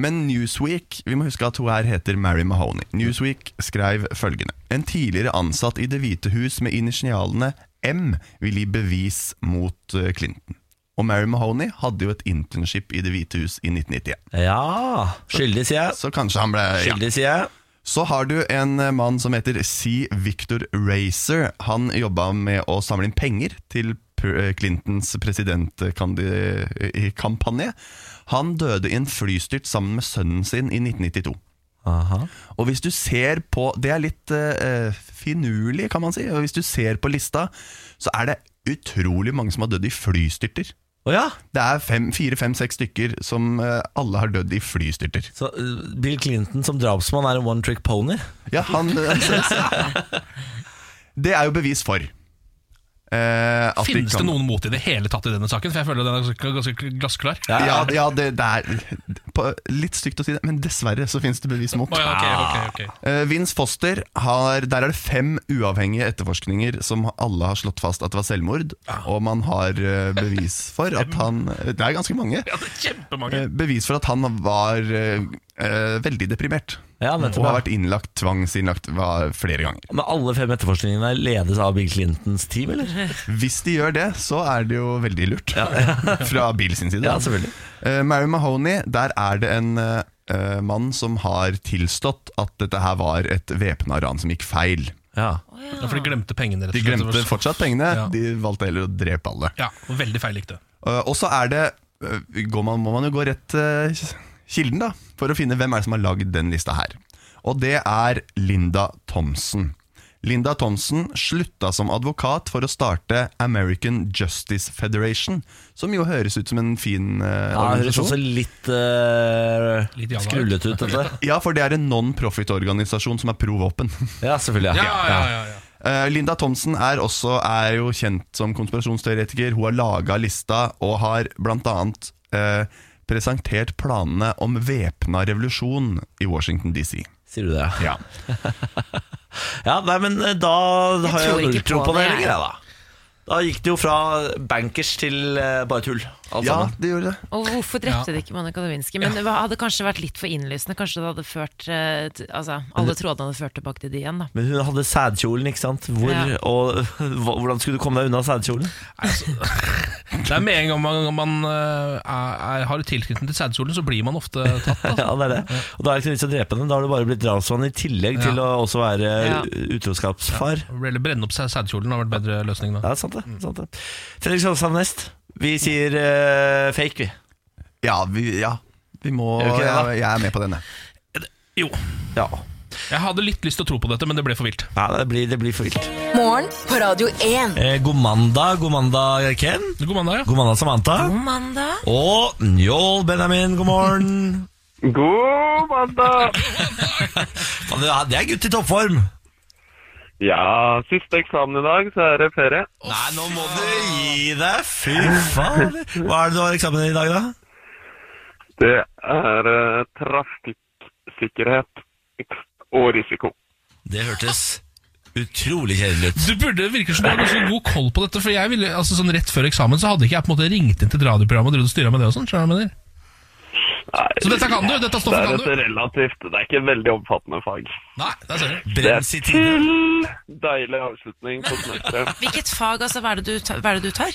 J: Men Newsweek vi må huske at hun her heter Mary Mahoney. Newsweek skrev følgende En tidligere ansatt i Det hvite hus med initialene M vil gi bevis mot eh, Clinton. Og Mary Mahoney hadde jo et internship i Det hvite hus i 1991.
A: Ja, skyldig sier jeg.
J: Så kanskje han ble
A: Skyldig sier jeg.
J: Så har du en eh, mann som heter C. Victor Racer. Han jobba med å samle inn penger til pr- eh, Clintons presidentkampanje. Han døde i en flystyrt sammen med sønnen sin i 1992. Og hvis du ser på Det er litt eh, eh, finurlig, kan man si. Og hvis du ser på lista, så er det utrolig mange som har dødd i flystyrter. Det er fem, fire, fem, seks stykker som eh, alle har dødd i flystyrter.
A: Så eh, Bill Clinton som drapsmann er en one trick pony?
J: Ja, han Det er jo bevis for. eh, at de
B: Finnes
J: kan-
B: det noen mot i det hele tatt i denne saken? For jeg føler den er ganske- ganske glassklar.
J: Ja, ja det, det er på, litt stygt å si det, men dessverre så finnes det bevis mot.
B: Å ja, ok, ok, ok.
J: Eh, Vince Foster, har, der er det fem uavhengige etterforskninger som alle har slått fast at det var selvmord, og man har eh, bevis for at han Det er ganske mange.
B: Ja, det er kjempemange.
J: Eh, Bevis for at han var eh, eh, veldig deprimert.
A: nettopp,
J: og har
A: ja.
J: vært innlagt, tvangsinnlagt hva- flere ganger.
A: Men alle fem etterforskningene ledes av Bill Clintons team, eller?
J: Hvis de gjør det, så er det jo veldig lurt. Fra Bill sin side.
A: Ja, selvfølgelig.
J: Eh, Mary Mahoney, der er det en eh, eh, mann som har tilstått at dette her var et væpna ran som gikk feil.
B: Ja, for de glemte pengene, rett
J: De
B: og slett.
J: glemte fortsatt pengene,
B: Ja.
J: de valgte heller å drepe alle.
B: Ja, og veldig feil likte.
J: Eh, og så er det eh, går man, må man jo gå rett eh, kilden, da, for å finne hvem er det som har lagd den lista her. Og det er Linda Thompson. Linda Thompson slutta som advokat for å starte American Justice Federation, som jo høres ut som en fin eh,
A: Ja, det høres også
J: organisasjon.
A: litt, eh,
B: Litt jalla ut.
A: skrullete ut, dette.
J: Ja, for det er en non-profit-organisasjon som er pro våpen.
A: Ja, selvfølgelig.
B: Ja,
A: Ja.
B: ja, ja, ja.
J: Eh, Linda Thomsen er også er jo kjent som konspirasjonsteoretiker. Hun har laga lista og har bl.a. Uh, presentert planene om væpna revolusjon i Washington DC.
A: Sier du det? ja?
J: Ja.
A: Ja, nei, men eh, da
C: Jeg
A: har jeg
C: tror
A: jo
C: ikke
A: null tro
C: på
A: på det
C: det,
A: lenger,
C: jeg.
A: jeg, da. Da gikk det jo fra bankers til eh, bare tull. Alt
J: ja,
A: sammen.
J: det gjorde det.
C: Og hvorfor drepte
B: Ja.
C: de ikke Monica Lewinsky? Men det hadde kanskje vært litt for innlysende. Kanskje det hadde ført eh, t- Altså, alle trådene hadde ført tilbake til de igjen, da.
A: Men hun hadde sædkjolen, ikke sant? Hvor,
C: Ja.
A: og, hva- hvordan skulle du komme deg unna sædkjolen?
B: altså, Det er med en gang man, man eh, er, er, har tilknytning til sædsolen, så blir man ofte tatt. Altså.
A: Ja, det er det. Og da er det ikke noe vits å drepe henne. Da har du bare blitt drapsmann i tillegg til å
B: Ja.
A: også være eh,
C: Ja.
A: utroskapsfar.
B: Eller brenne opp sæ- sædkjolen har vært bedre løsning. Da.
A: Ja, sant det. Sant det. Fredrik Sandstad Nest, vi sier eh, fake, vi.
J: Ja, vi, ja, vi må
A: Gjør vi ikke det, da?
J: jeg, jeg er med på denne.
B: Jo,
A: Ja.
B: jeg hadde litt lyst til å tro på dette, men det ble for vilt.
A: ja det, blir, det blir for vilt.
D: Morgen på Radio 1.
A: Eh, god mandag, god mandag, Ken.
B: God mandag, ja.
A: God mandag, Samantha.
C: God mandag.
A: Og Njål Benjamin, god morgen.
K: God mandag!
A: Faen, Det er- det er gutt i toppform.
K: Ja, siste eksamen i dag, så er det ferie.
A: Nei, nå må du gi deg. Fy faen. Hva er det du har eksamen i dag, da?
K: Det er eh, trafikksikkerhet og risiko.
A: Det hørtes utrolig kjedelig ut.
B: Du burde virke som du har ganske god koll på dette. For jeg ville, altså sånn Rett før eksamen så hadde ikke jeg på en måte ringt inn til et radioprogram og drevet og styra med det. og sånn, skjønner du hva jeg mener?
K: Nei,
B: Så dette kan du, dette
K: det
B: stoffet
K: er
B: kan
K: et
B: du.
K: relativt Det er ikke et veldig omfattende fag.
B: Nei, der ser du.
K: Det er
A: Brems i tide.
K: til deilig avslutning på semesteret.
C: Hvilket fag, altså? Hva er det du, ta- hva er det du tar?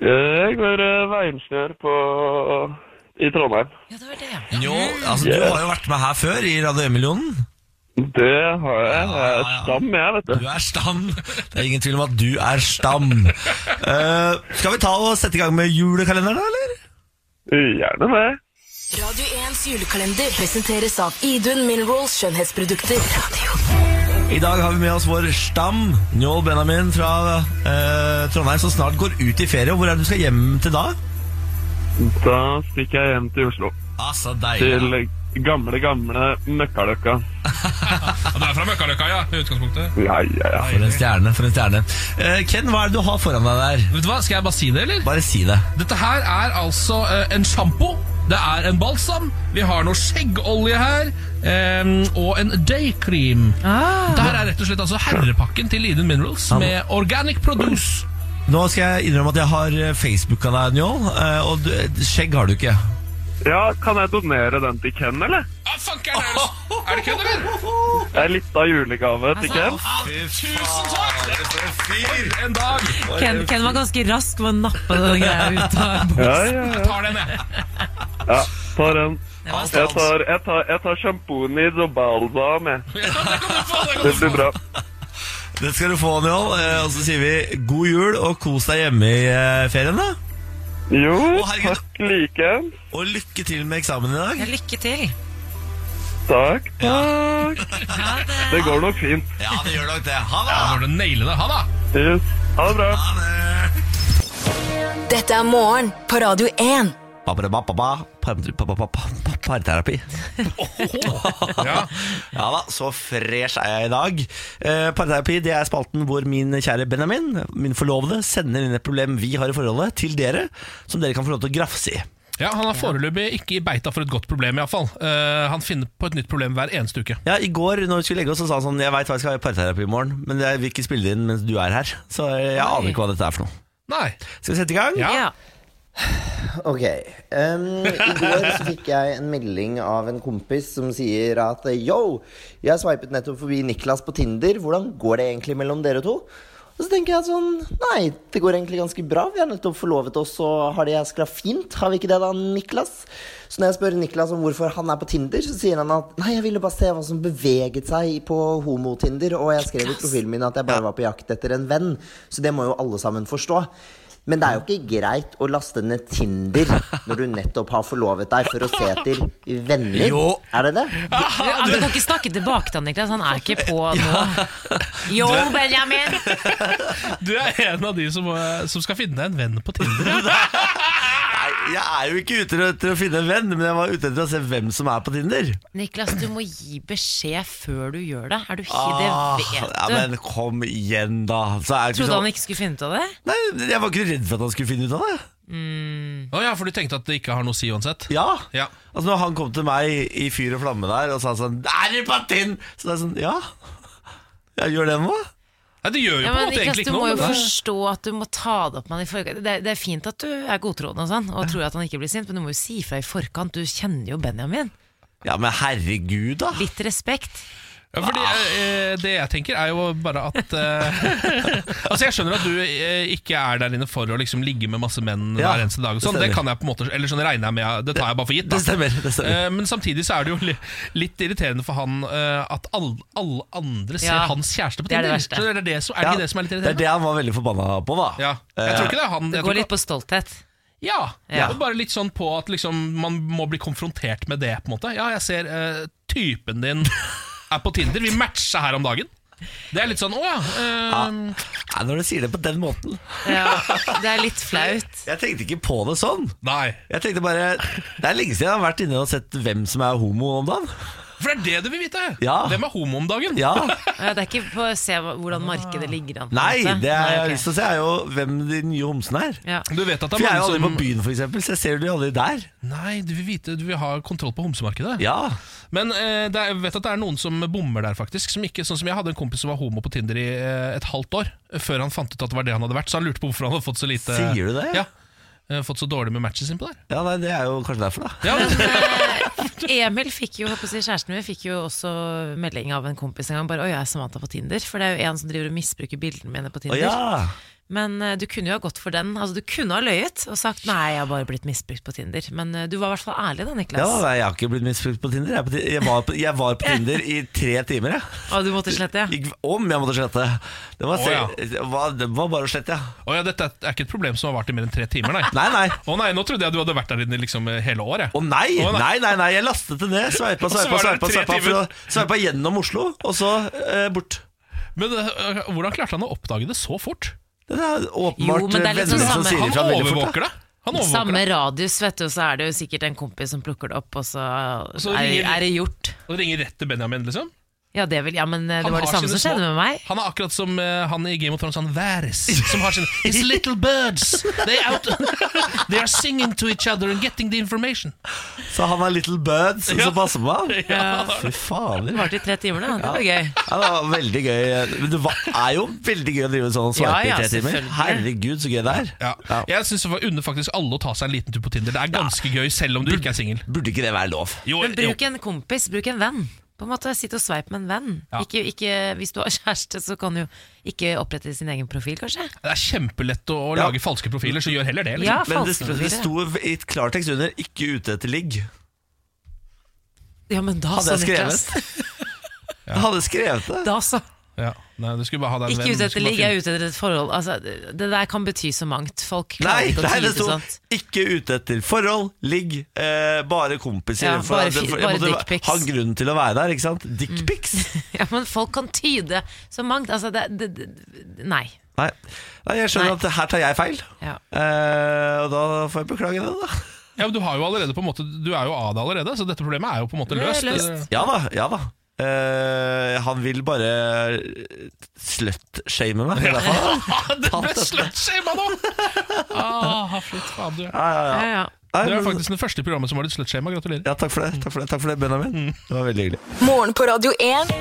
K: Jeg går eh, veiingeniør på i Trondheim.
C: Ja, det var det, ja.
A: Njål, altså, du har jo vært med her før i Radio 1-millionen.
K: Det har jeg. Jeg
A: ja,
K: er
A: Eh, ja.
K: stam, jeg, vet
A: Du
K: du.
A: er stam. Det er ingen tvil om at du er stam. Eh, skal vi ta og sette i gang med julekalenderen, da, eller?
K: Gjerne det.
D: Radio 1s julekalender presenteres av Idun Minerals skjønnhetsprodukter. Radio.
A: I dag har vi med oss vår stam, Njål Benjamin fra eh, Trondheim, som snart går ut i ferie. Hvor er det du skal hjem til da?
K: Da stikker jeg hjem til Oslo.
A: Altså, deilig.
K: Til gamle, gamle Møkkaløkka.
B: Ja, du er fra Møkkaløkka, ja, i utgangspunktet.
K: Ja, ja, ja.
A: For en stjerne, for en stjerne. Eh, Ken, hva er det du har foran deg der?
B: Vet du hva, Skal jeg bare si det, eller?
A: Bare si det.
B: Dette her er altså eh, en sjampo. Det er en balsam. Vi har noe skjeggolje her. em, og en daycream. Dette her er rett og slett altså herrepakken til Eden Minerals med organic produce.
A: Nå skal jeg innrømme at jeg har eh, Facebooka deg, Njål, eh, og du, skjegg har du ikke.
K: Ja, kan jeg donere den til Ken, eller?
B: Ah, Er det kødd, eller?
K: Det er litt av julegave
A: Altså,
C: Altså,
K: til Ken.
B: Tusen takk! For en dag!
C: Ken, Ken var ganske rask med å nappe den greia ut av boksen.
K: Ja, ja, ja.
B: Jeg tar den, jeg.
K: Ja, tar den.
B: Det var
K: Jeg tar, jeg tar, jeg tar sjampoen i Zobalbam, jeg. Det blir bra.
A: Det skal du få, Njål. Eh, Og så sier vi god jul og kos deg hjemme i eh, ferien, da.
K: Jo,
A: takk
K: like.
A: Og lykke til med eksamen i dag.
C: Ja, lykke til.
K: Takk, takk. Det går nok fint.
A: Ja, det gjør nok det. Ha det!
B: Ja, når du nailer det. Ha det!
K: Yes. Ha det bra.
D: Dette er morgen på Radio 1.
A: Ba-ba-da-ba-ba-ba. Par- pa- pa- pa- pa- pa- Parterapi.
B: Ja.
A: Ja da, så fresh er jeg i dag. Eh, parterapi det er spalten hvor min kjære Benjamin, min forlovede, sender inn et problem vi har i forholdet, til dere, som dere kan få lov til å grafse i.
B: Ja, Han er foreløpig ikke i beita for et godt problem, iallfall. Uh, han finner på et nytt problem hver eneste uke.
A: Ja, I går når vi skulle legge oss, så sa han sånn Jeg veit hva jeg skal ha i parterapi i morgen, men jeg vil ikke spille det inn mens du er her. Så eh, jeg aner ikke hva dette er for noe.
B: Nei.
A: Skal vi sette i gang?
C: Ja.
L: Ok. em, I går så fikk jeg en melding av en kompis som sier at yo, jeg sveipet nettopp forbi Niklas på Tinder. Hvordan går det egentlig mellom dere to? Og så tenker jeg sånn Nei, det går egentlig ganske bra. Vi har nettopp forlovet oss og har det jæskla fint. Har vi ikke det da, Niklas? Så når jeg spør Niklas om hvorfor han er på Tinder, så sier han at nei, jeg ville bare se hva som beveget seg på homotinder, og jeg skrev i profilen min at jeg bare var på jakt etter en venn. Så det må jo alle sammen forstå. Men det er jo ikke greit å laste ned Tinder når du nettopp har forlovet deg for å se etter venner.
C: Jo.
L: Er det det?
C: Ja, du kan ikke snakke tilbake til han, Niklas. Han er ikke på nå. Yo, Benjamin!
B: Du er en av de som, eh, som skal finne deg en venn på Tinder.
A: Nei, jeg er jo ikke ute etter å finne en venn, men jeg var ute etter å se hvem som er på Tinder.
C: Niklas, du må gi beskjed før du gjør det. Er du ikke
A: Ah,
C: det? Vet du.
A: ja, men kom igjen, da. Så er det ikke
C: Trodde
A: sånn-
C: han ikke skulle finne ut av det?
A: Nei, jeg var ikke redd for at han skulle finne ut av det.
B: Å ja, for du tenkte at det ikke har noe å si uansett?
A: Ja.
B: Ja.
A: Altså Når han kom til meg i fyr og flamme der og sa sånn Er det på Tind?! Så det er sånn Ja, jeg gjør det nå.
B: Nei, det gjør jo
C: Ja,
B: på en
C: men
B: måte
C: Niklas,
B: egentlig
C: du
B: ikke
C: må
B: noe.
C: jo
B: men-
C: forstå at du må ta det opp med han i forkant. Det, er- det er fint at du er godtroende og sånn, og tror at han ikke blir sint, men du må jo si ifra i forkant. Du kjenner jo Benjamin.
A: Ja, men herregud, da.
C: Litt respekt.
B: Ja, fordi
A: Ah.
B: eh, Det jeg tenker, er jo bare at eh, Altså Jeg skjønner at du eh, ikke er der inne for å liksom ligge med masse menn
A: Ja,
B: hver eneste dag. og
A: det
B: Sånn. Det
A: stemmer.
B: kan jeg på en måte Eller sånn regner jeg med Det tar jeg bare for gitt. Da.
A: Det stemmer, det stemmer.
B: Eh, men samtidig så er det jo li litt irriterende for han eh, at alle all andre ser
C: Ja,
B: hans kjæreste på
C: det er det
B: Tinder.
C: verste.
B: Skjønner du? Er det det som- er det
A: Ja,
B: ikke det som er litt
A: Det er
B: irriterende?
A: det han var veldig forbanna på, da.
B: Ja. Jeg tror ikke det er han.
C: Det
B: Jeg
C: går
B: tror
C: litt
B: ikke,
C: på stolthet.
B: ja,
C: Ja.
B: og Bare litt sånn på at liksom man må bli konfrontert med det, på en måte. Ja, jeg ser eh, typen din er på Tinder. Vi matcha her om dagen. Det er litt sånn Å ja. eh,
A: Nei, Når du sier det på den måten
C: Ja, det er litt flaut.
A: Jeg tenkte ikke på det sånn.
B: Nei.
A: Jeg tenkte bare Det er lenge siden jeg har vært inne og sett hvem som er homo om dagen.
B: For det er det du vil vite!
A: Ja.
B: Hvem er homo om dagen?
A: Ja.
C: Ja, det er ikke på å se hva- hvordan markedet ligger an. på en
A: Nei,
C: måte.
A: det jeg har
C: ok.
A: lyst til å se, er jo hvem de nye homsene er.
C: Ja.
B: Du vet at det
A: For jeg
B: er
A: er jo
B: mange
A: aldri på
B: som
A: byen, for eksempel, så jeg ser de aldri der.
B: Nei, du vil vite Du vil ha kontroll på homsemarkedet.
A: Ja,
B: Men eh, det er, jeg vet at det er noen som bommer der, faktisk. Som ikke, sånn som Jeg hadde en kompis som var homo på Tinder i eh, et halvt år, eh, før han fant ut at det var det han hadde vært. Så han lurte på hvorfor han hadde fått så lite
A: Sier du det?
B: Ja, eh, Fått så dårlig med matches innpå der.
A: ja nei, Det er jo kanskje derfor, da.
B: Ja, men,
C: Emil fikk jo, jeg håper å si, kjæresten min fikk jo også melding av en kompis en gang. Bare 'Å, jeg er Samantha på Tinder'. For det er jo en som driver og misbruker bildene mine på
A: Å
C: Tinder.
A: ja.
C: Men eh, du kunne jo ha gått for den. Altså, du kunne ha løyet og sagt 'nei, jeg har bare blitt misbrukt på Tinder'. Men eh, du var i hvert fall ærlig da,
A: ja
C: Niklas.
A: nei, Jeg har ikke blitt misbrukt på Tinder. Jeg, er på, Ti- jeg, var, på, jeg var på Tinder i tre timer, jeg.
C: Og du måtte slette, ja.
A: Ikke- Om jeg måtte slette. Det
B: Å,
A: var, se,
B: ja.
A: det var, det var bare å slette, ja.
B: Å ja, dette er ikke et problem som har vart i mer enn tre timer, nei.
A: Nei, nei.
B: Å nei, nå trodde jeg du hadde vært der inne liksom eh, hele året.
A: Å nei,
B: Å, nei.
A: nei, nei, nei, jeg lastet det ned. Sveipa,
B: så
A: sveipa,
B: var det
A: sveipa,
B: tre
A: sveipa,
B: timer.
A: fra- sveipa gjennom Oslo, og så eh, bort.
B: Men eh, hvordan klarte han å oppdage det så fort?
A: Det er
C: Jo,
A: åpenbart
C: men det er litt
A: venner som
C: sånn samme-
A: sier
B: Han
A: ifra veldig fort.
B: overvåker det. Han overvåker
C: Samme
B: det.
C: radius, vet du, og så er det jo sikkert en kompis som plukker det opp, og så
B: så
C: er,
B: ringer-
C: er det gjort.
B: Og ringer rett til Benjamin, liksom.
C: Ja, det vil, ja, men eh, det
B: Han
C: var det
B: har
C: samme som
B: sine
C: skjedde
B: små-
C: med meg.
B: Han er akkurat som eh, han i Game of Thrones, han Varys, som har sin His little birds! They, out, they are singing to each other and getting the information.
A: Så han er Little Birds som passer på ham?
B: Ja.
A: Fy fader.
C: Det varte i tre timer, da. Det var gøy.
A: Ja, det var veldig gøy. Men det var, er jo veldig gøy å drive sånn og sveipe
C: Ja, ja,
A: i tre timer.
C: selvfølgelig.
A: Herregud, så gøy det er.
B: Jeg syns det var under faktisk alle å ta seg en liten tur på Tinder. Det er ganske gøy, selv om du ikke er singel.
A: Burde ikke det være lov?
B: Jo,
C: Men
B: jo.
C: bruk en kompis, bruk en venn. På en måte, Sitt og sveip med en venn.
B: Ja.
C: Ikke, ikke, hvis du har kjæreste, så kan du jo ikke opprette sin egen profil, kanskje.
B: Det er kjempelett å, å
A: Ja.
B: lage falske profiler, så gjør heller det. liksom.
C: Ja,
A: Men det, det
C: falske profiler.
A: sto i et klartekst under 'ikke ute etter ligg'.
C: Ja, men da
A: Hadde
C: så,
A: jeg
C: Niklas.
A: skrevet? Jeg hadde skrevet det.
C: Da så.
B: Ja. Nei, du skulle bare ha deg en venn, du
C: Ikke ute etter
B: skulle bare
C: ligg, jeg er ute etter et forhold. Altså, det det der kan bety så mangt. Folk klarer
A: Nei,
C: ikke å
A: nei,
C: tyde
A: det sto
C: sånt.
A: 'ikke ute etter forhold, ligg, eh, bare kompiser'.
C: Ja,
A: For
C: bare
A: jeg-
C: fi-
A: for
C: bare
A: jeg måtte
C: dickpics. Mm.
A: ha grunn til å være der, ikke sant? Dickpics?
C: Ja, men folk kan tyde så mangt. Altså, det, det, det Nei.
A: Nei. nei, jeg skjønner at her tar jeg feil.
C: Ja.
A: Eh, og da får jeg beklage det, da.
B: Ja, men du, har jo allerede på en måte, du er jo av det allerede, så dette problemet er jo på en måte
C: Det er
B: løst.
C: løst.
A: Ja da, ja da. Eh, han vil bare slut-shame meg, i hvert fall.
B: Ah, det ble slutshama nå! Ah, flytt faen, du.
A: Ja, ja, ja. Nei,
B: Du er
A: men-
B: faktisk den første i programmet som har litt slutshama. Gratulerer.
A: Ja, takk for det, takk for det, takk for det
C: Mm.
A: Benjamin. Det var veldig hyggelig.
D: Morgen på Radio 1.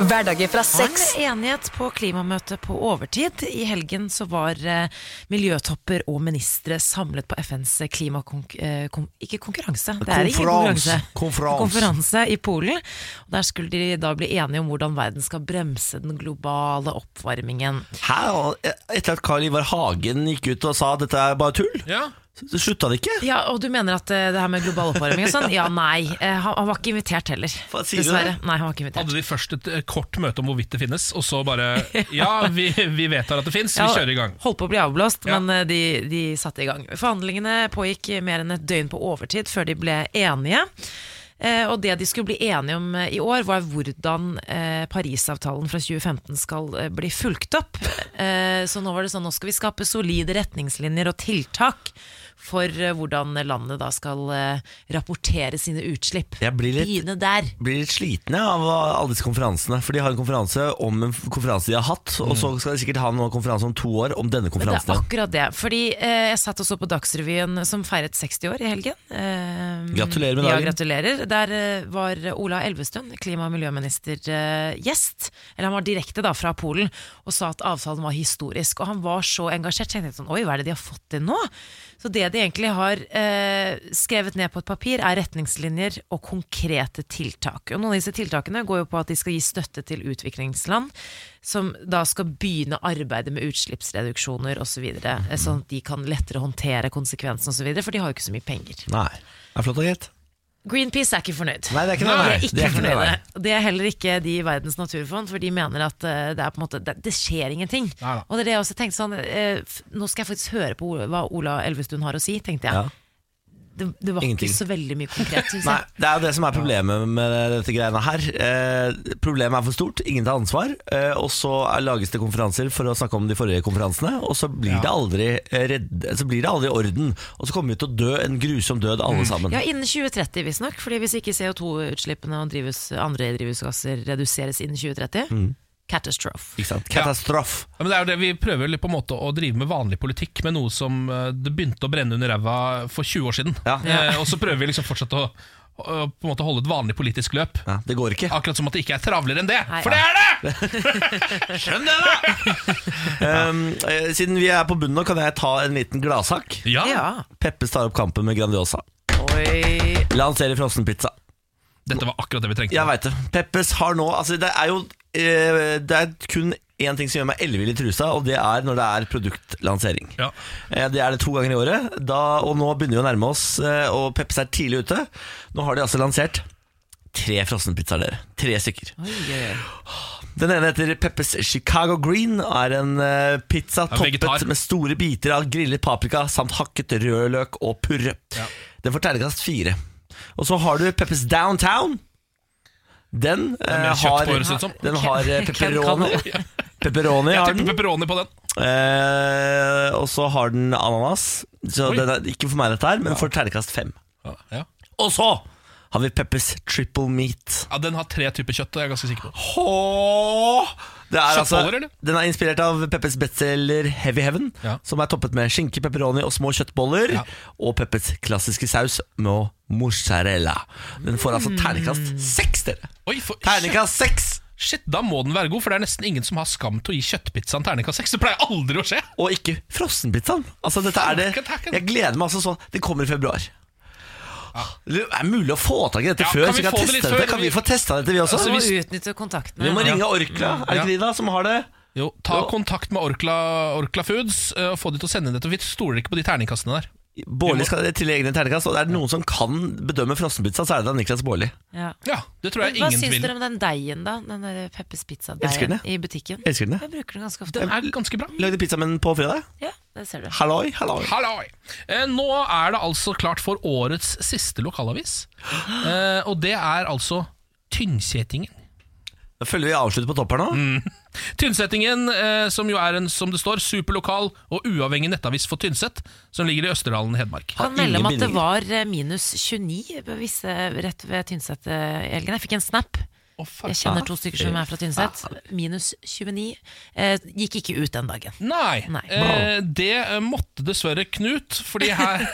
D: Hverdager fra
C: Det var
D: seks.
C: en enighet på klimamøtet på overtid. I helgen så var eh, miljøtopper og ministre samlet på FNs klimakonk... Eh, kon- ikke konkurranse, det er ingen konkurranse.
A: Konferanse.
C: Konferanse i Polen. Og der skulle de da bli enige om hvordan verden skal bremse den globale oppvarmingen.
A: Hæ? Og e- Etter at Karl Ivar Hagen gikk ut og sa at dette er bare tull,
B: Ja.
A: så så slutta det ikke?
C: Ja, Og du mener at eh, det her med global oppvarming og sånn? Ja, nei. eh, Han, han var ikke invitert heller,
A: sier du
C: dessverre. Nei, han var ikke invitert.
B: Hadde de først et eh, kort møte om hvorvidt det finnes, og så bare Ja, vi, vi vedtar at det fins, vi
C: Ja,
B: kjører i gang.
C: Holdt på å bli avblåst,
B: Ja.
C: men eh, de, de satte i gang. Forhandlingene pågikk mer enn et døgn på overtid før de ble enige. Eh, og det de skulle bli enige om eh, i år, var hvordan eh, Parisavtalen fra 2015 skal eh, bli fulgt opp. Eh, så nå var det sånn, nå skal vi skape solide retningslinjer og tiltak for eh, hvordan landet da skal eh, rapportere sine utslipp.
A: Jeg blir litt-
C: Begynne der.
A: Blir litt slitne av alle disse konferansene. For de har en konferanse om en f- konferanse de har hatt, og så skal de sikkert ha en konferanse om to år om denne
C: Men det
A: konferansen.
C: er akkurat det. Fordi eh, jeg satt og så på Dagsrevyen som feiret 60 år i helgen. Eh,
A: Gratulerer med dagen.
C: Ja, gratulerer. Der eh, var Ola Elvestuen, klima- og miljøminister, eh, gjest. Eller han var direkte da fra Polen og sa at avtalen var historisk. Og han var så engasjert. tenkte jeg sånn, Oi, hva er det de har fått til nå? Så det de egentlig har eh, skrevet ned på et papir, er retningslinjer og konkrete tiltak. Og noen av disse tiltakene går jo på at de skal gi støtte til utviklingsland som da skal begynne arbeidet med utslippsreduksjoner osv. Så mm. Sånn at de kan lettere håndtere konsekvensene osv., for de har jo ikke så mye penger.
A: Nei. Det er flott og greit.
C: Greenpeace er ikke fornøyd.
A: Nei, det er ikke noe,
C: de
A: nei. Det
C: er ikke
A: er ikke noe,
C: fornøyde.
A: nei.
C: Og Det er heller ikke de i Verdens naturfond, for de mener at eh, det, er på en måte, det, det skjer ingenting.
B: Nei da.
C: Og det er det jeg også tenkte sånn eh, f- Nå skal jeg faktisk høre på Ola- hva Ola Elvestuen har å si, tenkte jeg.
A: Ja.
C: Det, det var
A: Ingenting.
C: ikke så veldig mye konkret, syns
A: Nei,
C: jeg.
A: det er jo det som er problemet med dette greiene her. Eh, problemet er for stort, ingen tar ansvar. Eh, og så er- lages det konferanser for å snakke om de forrige konferansene, og så blir, det, aldri eh, redd, så blir det aldri orden. Og så kommer vi til å dø en grusom død, alle sammen.
C: Ja, Innen 2030 visstnok. Fordi hvis ikke CO2-utslippene og drivhus, andre drivhusgasser reduseres innen 2030
A: Mm.
C: Catastrophe.
A: Ikke sant? Katastrof.
B: Ja, men det er jo det, Vi prøver litt på en måte å drive med vanlig politikk med noe som eh, det begynte å brenne under ræva for 20 år siden. Eh, og så prøver vi liksom fortsatt å, å på en måte holde et vanlig politisk løp.
A: Ja, det går ikke.
B: Akkurat som at det ikke er travlere enn det.
C: Nei,
B: for det
C: ja.
B: er det!
A: Skjønn det, da! um, eh, siden vi er på bunnen nå, kan jeg ta en liten gladsak.
B: Ja.
A: Peppes tar opp kampen med Grandiosa.
C: Oi.
A: Lanserer frossenpizza.
B: Dette var akkurat det vi trengte.
A: Jeg veit det. Peppes har nå Altså, det er jo eh, Det er kun én ting som gjør meg ellevill i trusa, og det er når det er produktlansering.
B: Ja.
A: Eh, Det er det to ganger i året, da, og nå begynner vi å nærme oss, eh, og Peppes er tidlig ute. Nå har de altså lansert tre frossenpizzaer, dere. Tre stykker. Den ene heter Peppes Chicago Green og er en eh, pizza
B: Ja,
A: toppet
B: vegetar.
A: med store biter av grillet paprika samt hakket rødløk og purre. Den får terningkast fire. Og så har du Peppes Downtown. Den,
B: er mer
A: eh,
B: kjøtt
A: har,
B: på, høres det ut som.
A: den har eh,
C: Ken
A: pepperoni.
C: kan
A: Pepperoni
B: Jeg
A: har
B: tipper
A: den.
B: pepperoni på den.
A: Eh, og så har den ananas. Så
B: Oi.
A: den er ikke for meg, dette her, men får terningkast fem.
B: Ja, ja.
A: Og så har vi Peppers Triple Meat.
B: Ja, Den har tre typer kjøtt, og jeg er ganske sikker på.
A: Åh! Det er altså,
B: Kjøttboller, eller?
A: den er inspirert av Peppers bestselger Heavy Heaven, som er toppet med skinke, pepperoni og små kjøttboller. Og Peppers klassiske saus med mozzarella. Den får altså terningkast seks, dere!
B: Mm. Oi, for,
A: Terningkast seks!
B: Shit, da må den være god, for det er nesten ingen som har skam til å gi kjøttpizzaen terningkast seks. Det pleier aldri å skje.
A: Og ikke frossenpizzaen. Altså, dette er det Jeg gleder meg altså sånn. Det kommer i februar. Det er mulig å få tak i dette
B: Ah. Ja,
A: før,
B: kan
A: så
B: vi
A: vi kan,
B: få det
A: teste
B: litt
A: dette.
B: før? Altså,
A: kan vi få testa dette, vi også?
C: Så vi utnytter kontaktene.
A: Vi må ringe Orkla, er det ikke de da, som har det?
B: Jo, Ta kontakt med Orkla, Orkla Foods eh, og få de til å sende inn dette. Vi stoler ikke på de terningkastene der.
A: Bårli skal tillegge egne terningkast, og det er det noen som kan bedømme frossenpizza, så er det da Niklas Bårli.
C: Ja.
B: det tror jeg
C: Men Hva
B: ingen
C: syns
B: tviler.
C: dere om den deigen, da? Den der Peppers
A: Elsker den,
C: Pizza-deigen i butikken?
A: Elsker den, jeg.
C: Jeg bruker den ganske ofte.
A: Den
B: er ganske bra.
A: Lagde pizza med den på fredag.
C: Ja, det ser du.
A: Halloi, halloi.
B: Halloi. Eh, nå er det altså klart for årets siste lokalavis, eh, og det er altså Tynnsetingen.
A: Da følger vi avslutt på topp her nå.
B: Mm. Tynsetingen, eh, som jo er en, som det står, superlokal og uavhengig nettavis for Tynset, som ligger i Østerdalen i Hedmark.
C: kan melde om at det var eh, minus 29 på visse rett ved Tynset eh, i helgen. Jeg fikk en snap. jeg kjenner to stykker som er fra Tynset. Minus 29. Eh, gikk ikke ut den dagen.
B: Nei. Eh, det eh, måtte dessverre Knut, fordi her,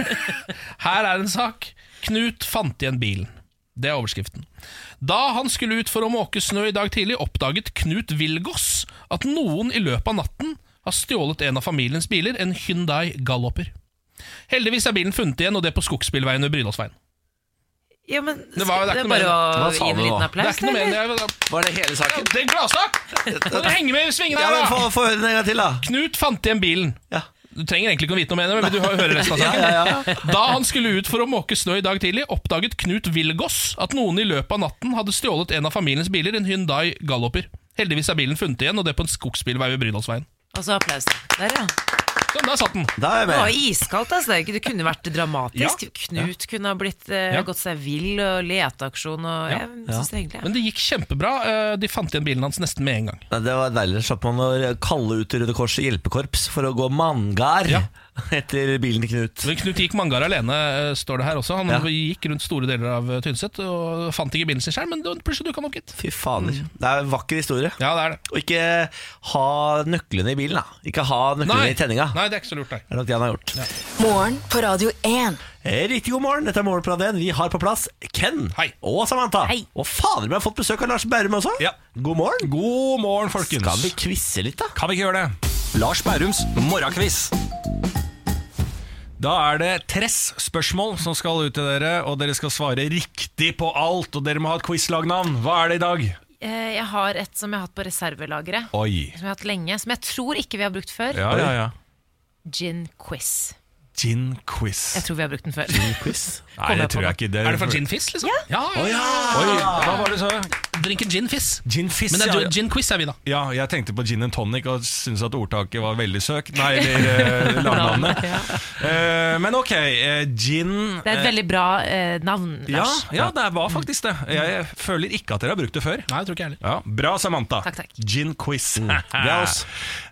B: her er en sak. Knut fant igjen bilen. Det er overskriften. Da han skulle ut for å måke snø i dag tidlig, oppdaget Knut Vilgås at noen i løpet av natten har stjålet en av familiens biler, en Hyundai Galloper. Heldigvis er bilen funnet igjen, og det på skogsbilveien ved Brynåsveien.
C: Ja, men
B: Det var- det er
C: det
B: ikke
C: er bare
B: noe
C: å
B: mer. Hva sa
C: gi en
B: du
C: liten
B: nå?
C: applaus.
B: Det er ikke noe mer enn
C: eller?
A: Var det hele saken?
B: Det er en gladsak! Må du henge med i svingene
A: Ja,
B: her,
A: men
B: da!
A: Få få høre den en gang til, da.
B: Knut fant igjen bilen. Du trenger egentlig ikke å vite noe mer, men du hø- hører resten av saken.
A: Ja, ja, ja.
B: Da han skulle ut for å måke snø i dag tidlig, oppdaget Knut Vilgås at noen i løpet av natten hadde stjålet en av familiens biler, en Hyundai Galloper. Heldigvis er bilen funnet igjen, og det på en skogsbilvei ved Brynåsveien.
C: Og så applaus. Der, ja.
B: Sånn, der satt den.
A: Da
C: Det var iskaldt, altså. Det, er ikke- det kunne vært dramatisk.
B: Ja.
C: Knut kunne ha blitt, eh,
B: Ja.
C: gått seg vill og leteaksjon og Jeg syns egentlig ja.
B: Men det gikk kjempebra. eh, De fant igjen bilen hans nesten med en gang.
A: Nei, det var deilig. Slapp man å kalle ut Røde Kors hjelpekorps for å gå mangar etter bilen til Knut.
B: Men Knut gikk mangar alene, eh, står det her også. Han
A: Ja.
B: gikk rundt store deler av eh, Tynset og fant ikke bilen sin selv, men det- plutselig dukka han opp, gitt.
A: Fy fader. Det er en vakker historie.
B: Ja, det er det.
A: Og ikke ha nøklene i bilen, da. Ikke ha nøklene
B: Nei.
A: i tenninga.
B: Nei, det er ikke så lurt, nei.
A: Det er nok det han har gjort.
D: Morgen på Radio 1.
A: Eh, Riktig god morgen, dette er Morgen på Radio 1. Vi har på plass Ken og Samantha. Og fader, vi har fått besøk av Lars Bærum også. God morgen.
M: God morgen, folkens.
A: Skal vi quize litt, da?
M: Kan vi ikke gjøre det? Lars Bærums morgenkviss. Da er det Tress-spørsmål som skal ut til dere, og dere skal svare riktig på alt. Og dere må ha et quizlagnavn. Hva er det i dag?
C: Eh, Jeg har et som jeg har hatt på reservelageret.
M: Oi.
C: Som jeg har hatt lenge, som jeg tror ikke vi har brukt før.
M: Ja, ja, ja.
C: Gin quiz.
M: Gin quiz.
C: Jeg tror vi har brukt den før.
M: Nei, det tror jeg ikke.
B: Er det fra Gin Fizz, liksom? Ja, ja, ja.
M: Oi, hva var det så?
B: Drinken Gin Fizz.
M: Gin Fizz,
B: Men det
M: ja.
B: er gin quiz er vi, da.
M: Ja, jeg tenkte på gin and tonic og syntes at ordtaket var veldig søkt. Nei, eller eh, lagnavnet. Eh, men ok, eh, gin
C: Det er et
M: eh,
C: veldig bra eh, navn,
M: Ja,
C: Lars.
M: ja, det var faktisk det. Jeg føler ikke at dere har brukt det før.
B: Nei, jeg tror ikke heller
M: Ja, Bra, Samantha.
C: Takk, takk.
M: Gin quiz. Det er oss.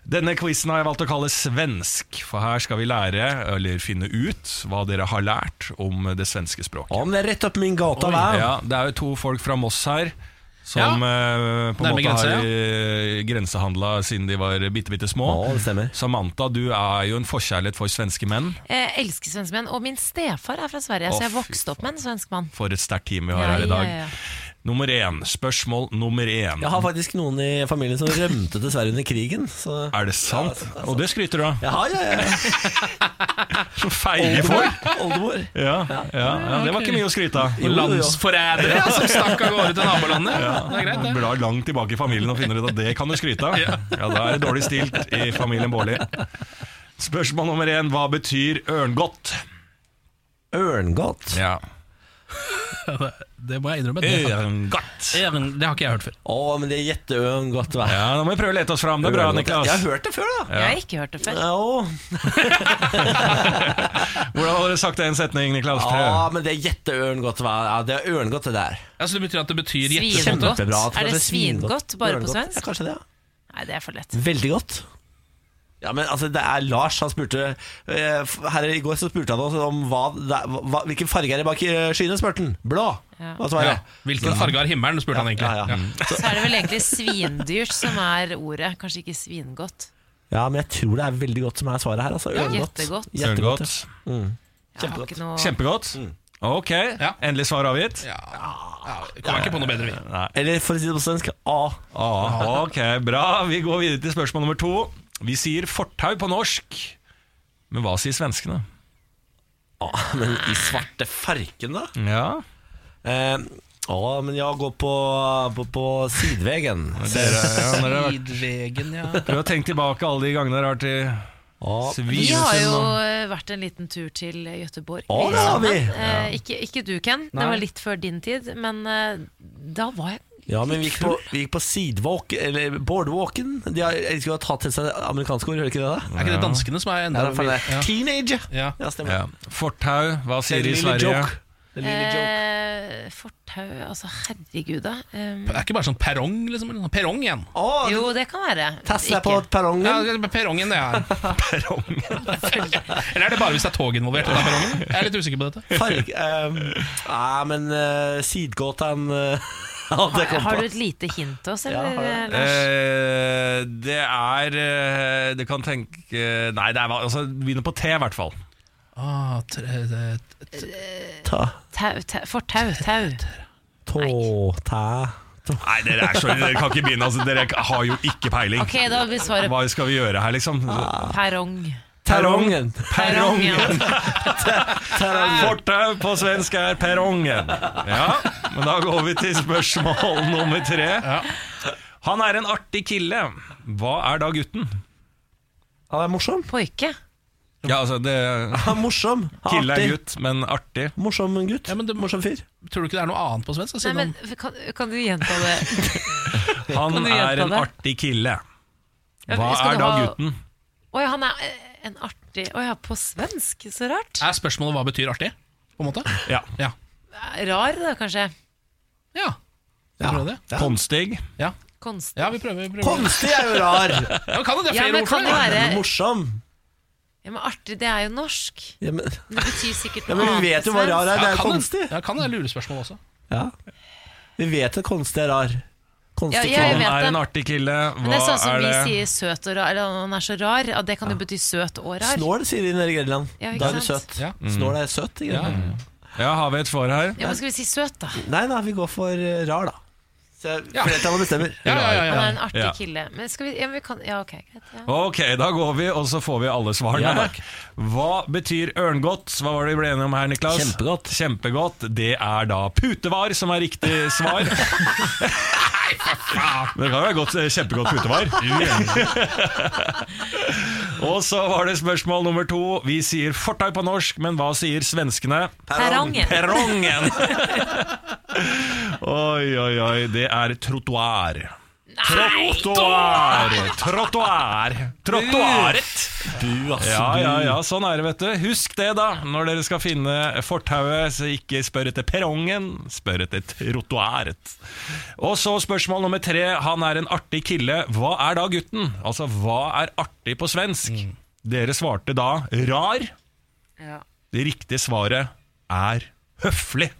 M: Denne quizen har jeg valgt å kalle svensk, for her skal vi lære, eller finne ut, hva dere har lært om det svenske språket.
A: Om det er rett opp min gata, hva?
M: Ja, det er jo to folk fra Moss her. Som eh, på en
B: Nærme
M: måte
B: grensa,
M: har eh, grensehandla siden de var bitte, bitte små. Samantha, du er jo en forkjærlighet for svenske menn.
C: Jeg Eh, elsker svenske menn. Og min stefar er fra Sverige,
M: Å,
C: så jeg
M: fy
C: vokste opp med en svensk mann.
M: For et sterkt team vi har
C: Ja,
M: her i dag.
C: ja, ja.
M: Nummer én. Spørsmål nummer én.
A: Jeg har faktisk noen i familien som rømte til Sverige under krigen. Så.
M: Er det sant? Og det skryter du av.
A: Ja, ja, ja.
M: Feige folk!
A: Oldemor.
M: Ja, ja, ja, det var ikke mye å skryte av.
B: Og landsforrædere ja, som stakk av gårde til nabolandet.
M: Ja,
B: Det er greit, det.
M: Blar langt tilbake i familien og finner ut at det kan du skryte av. Ja, Da er det dårlig stilt i familien Baarli. Spørsmål nummer én. Hva betyr ørngodt?
A: Ørngodt?
M: Ja.
B: Det, det må jeg innrømme. Det, har-
M: Ørngodt.
B: Ørn- det har ikke jeg hørt før.
A: Å, men det er jetteørngodt, hva?
M: Ja, nå må vi prøve å lete oss fram. Det er bra, Niklas.
A: Jeg har hørt det før, da.
M: Ja.
C: Jeg har ikke hørt det før.
M: Hvordan hadde dere sagt det i en setning, Niklas?
A: Ja, men det er jetteørngodt, hva? Ja, det er ørngodt, det der.
B: Ja, så det betyr at det betyr
C: Svingodt.
B: gjettemåte?
A: Kjempebra at
C: Er det
A: det er svingodt.
C: svingodt bare på
A: Ørngodt.
C: svensk?
A: Ja, kanskje det, ja.
C: Nei, det er for lett.
A: Veldig godt. Ja, men altså, det er Lars, han spurte eh, f- Her i går så spurte han oss om hva, det er- hva, hvilken farge er det bak eh, skyene, spurte han. Blå.
C: Ja.
A: Hva svarer jeg?
B: Hvilken farge har himmelen, spurte han egentlig.
C: Så er det vel egentlig svindyrt som er ordet, kanskje ikke svingodt.
A: Ja, men jeg tror det er veldig godt som er svaret her. Altså.
C: Ja,
A: Ørngodt.
C: jettegodt.
M: Sørengodt.
A: ja. Mm.
C: Jeg har ikke noe
M: Kjempegodt. Ok, endelig svar avgitt. Ja.
B: Kommer ikke på noe bedre, vi.
A: Eller for å si det på svensk A.
M: Ah, ok, bra. Vi går videre til spørsmål nummer to. Vi sier fortau på norsk, men hva sier svenskene?
A: Ah, men i svarte farken, da?
M: Ja.
A: Eh, å, men jeg går på, på, på sidevegen.
M: Dere, ja, dere har vært-
B: Idvegen, ja.
M: Prøv å tenke tilbake alle de gangene dere har vært i
C: Vi har
M: Svinesund.
C: jo
M: og-
C: eh, vært en liten tur til Gøteborg.
M: Å, det har vi!
C: Eh, ikke, ikke du, Ken.
A: Nei.
C: Det var litt før din tid. Men eh, da var jeg
A: Ja, men vi gikk på, vi gikk på sidewalk, eller boardwalken. De har, jeg skulle ha tatt til seg amerikanske ord, hører ikke det? da?
B: Er ikke det danskene som er enda
A: Ja, det er faen det. Teenager!
B: Ja,
A: stemmer.
M: Ja. Fortau, hva sier de i
A: lille
M: Sverige?
A: joke.
C: eh, Fortau Altså, herregud, da. Um,
B: Er ikke bare sånn perrong, liksom? eller noe? Perrong igjen.
C: jo, det kan være. Ikke.
A: perrongen?
B: Ja, det er perrongen, det er. Eller er det bare hvis det er tog involvert? at det er perrongen? Jeg er litt usikker på dette.
A: Farg, eh, nei, men uh, sidgåtan eh,
C: Har, har du et lite hint til oss, eller, Lars?
M: Eh, det er eh, Det kan tenke Nei, det er hva- altså, det begynner på T, i hvert fall.
B: Ah, tre, det,
A: Ta.
C: Tau, tau, fortau, tau.
A: Tå, tæ
M: Nei, dere er så Dere kan ikke begynne. Altså, dere har jo ikke peiling.
C: Ok, Ah, da blir svaret
M: Hva skal vi gjøre her, liksom?
C: perrong.
A: Perrongen.
M: Perrongen.
A: Perrongen.
M: Fortau på svensk er perrongen. Ja, men da går vi til spørsmål nummer tre. Han er en artig kille. Hva er da gutten?
A: Han er morsom.
C: Poike.
M: Ja, altså det
A: Morsom.
M: Kille
A: Artig.
M: er gutt, men artig.
A: Morsom gutt.
B: Morsom
A: fyr.
B: Tror du ikke det er noe annet på svensk? Altså, da,
C: Nei,
B: Siden
C: men kan, kan du gjenta det? Kan
M: Han
C: du gjenta
M: er en
C: det?
M: artig kille.
C: Ja,
M: Hva
C: skal
M: er
C: du
M: da
C: ha-
M: gutten?
C: Oi, han er eh, en artig Oi, ja, på svensk. Så rart.
B: han, er spørsmålet hva betyr artig? På en måte?
M: Ja.
C: Rar, da, kanskje.
B: Ja.
M: Ja. Konstig.
B: Ja.
C: Konstig.
B: ja, vi prøver. vi prøver.
A: Konstig er jo rar.
B: Ja, men kan det, det er
C: Ja,
B: flere
C: men
B: ord for
C: kan det være-
A: Morsom.
C: Ja, men artig, det er jo norsk.
A: Ja, men,
C: Det betyr sikkert
A: Ja, men vi
C: noe
A: vet jo
C: annet.
A: hva rar er, det er jo
B: kan
A: konstig.
B: Ja, kan det være lurespørsmål også?
A: ja. Vi vet at konstig er rar.
C: Ja,
A: Konstig
C: ja, jeg
A: kille.
C: vet
M: Er
C: det.
M: en artig kille.
C: Men det
M: Hva
C: er sånn som
M: er
C: vi
M: det?
C: sier søt og rar, eller han er så rar, at det kan jo bety søt og rar.
A: Snål, sier de nede i Grenland.
C: Ja, ikke
A: da er du
C: sant?
A: søt.
B: Ja.
M: Mm.
A: Snål er søt i Grenland.
M: Ja, har vi et svar her?
C: Ja, men skal vi si søt, da?
A: Nei da, vi går for eh, rar, da. Så
B: Ja.
A: Flertallet bestemmer.
C: Han er en artig
M: Ja.
C: kille. Men skal vi, ja, men vi kan, ja, ok, greit. Ja.
M: Ok, da går vi, og så får vi alle svarene.
A: Ja, takk.
M: Hva betyr ørngodt? Hva var det vi ble enige om her, Niklas?
A: Kjempegodt.
M: Kjempegodt. Det er da putevar som er riktig svar. Men det kan være godt, eh, kjempegodt putevar. og så var det spørsmål nummer to. Vi sier fortau på norsk, men hva sier svenskene?
C: Perrongen.
M: Perrongen. Oi, oi, oi. Det er trottoar. Trottoar! Trottoar! Trottoaret!
A: Du, altså.
M: Ja, ja,
A: du.
M: ja, sånn er det, vet du. Husk det, da, når dere skal finne fortauet. Så ikke spør etter perrongen, spør etter trottoaret. Og så spørsmål nummer tre. Han er en artig kille. Hva er da gutten? Altså, hva er artig på svensk?
A: Mm.
M: Dere svarte da rar.
C: Ja.
M: Det riktige svaret er høflig.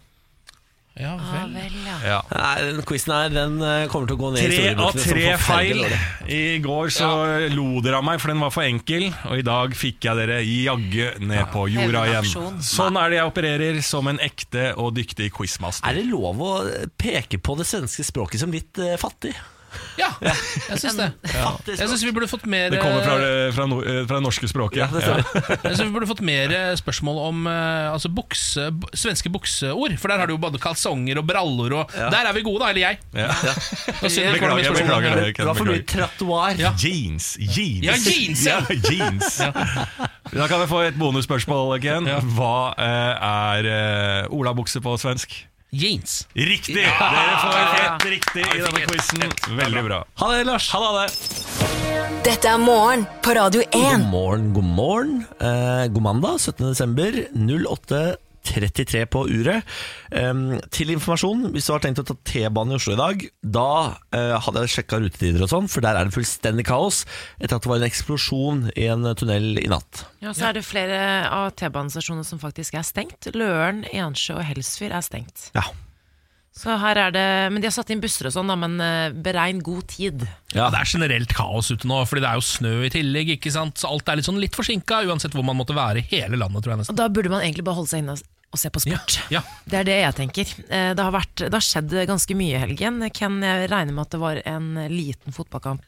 B: Ja
C: Ah, vel, ja.
M: Ja.
A: Nei, den quizen her den eh, kommer til å gå ned i
M: Tre av
A: historiebøkene som
M: tre feil.
A: sånn forferdelig dårlig.
M: I går så lo dere av meg, for den var for enkel. Og i dag fikk jeg dere jaggu ned på jorda igjen.
C: Hevnaksjon.
M: Sånn er det jeg opererer, som en ekte og dyktig quizmaster.
A: Er det lov å eh, peke på det svenske språket som litt eh, fattig?
B: Ja, jeg syns det.
A: Fattig
B: Jeg syns vi burde fått mer
M: Det kommer fra det, fra no, eh, fra det norske språket.
A: det stemmer.
B: Jeg synes Vi burde fått mer eh, spørsmål om eh, altså bukse, b- svenske bukseord. For der har du jo både kalsonger og brallor, og der er vi gode, da. Eller jeg.
M: Ja. Ja.
B: Da sier-
M: Beklager,
B: kommer det mye spørsmål.
M: beklager,
B: Ja.
M: jeg
A: Det
M: kan
A: var for mye
M: beklage.
A: trattoir.
B: Ja.
M: Jeans, jeans.
B: Ja, jeans, ja.
M: ja. jeans. Da kan vi få et bonusspørsmål, Ken. Hva eh, er eh, olabukse på svensk?
B: Jeans.
M: Riktig!
B: Ja!
M: Dere får helt riktig i denne
B: fikk
M: quizen. Veldig bra.
A: Ha det, Lars.
M: Ha det.
D: Dette er morgen på Radio 1.
A: God morgen, god morgen. Eh, god mandag, 17. desember. 08 33 på uret. Ehm, til informasjon, hvis du har tenkt å ta T-banen i Oslo i dag, da eh, hadde jeg sjekka rutetider og sånn, for der er det fullstendig kaos etter at det var en eksplosjon i en tunnel i natt.
C: Ja, så er det flere av T-banestasjonene som faktisk er stengt. Løren, Ensjø og Helsfyr er stengt.
A: Ja.
C: Så her er det, Men de har satt inn busser og sånn, da, men eh, beregn god tid.
B: Ja, Det er generelt kaos ute nå, Fordi det er jo snø i tillegg. ikke sant? Så alt er litt sånn litt forsinka, uansett hvor man måtte være i hele landet. tror jeg
C: Og
B: nesten
C: da burde man egentlig bare holde seg inne og- og se på sport.
B: Ja,
C: Det er det jeg tenker. Eh, Det har, vært, det har skjedd ganske mye i helgen. Ken, jeg regner med at det var en liten fotballkamp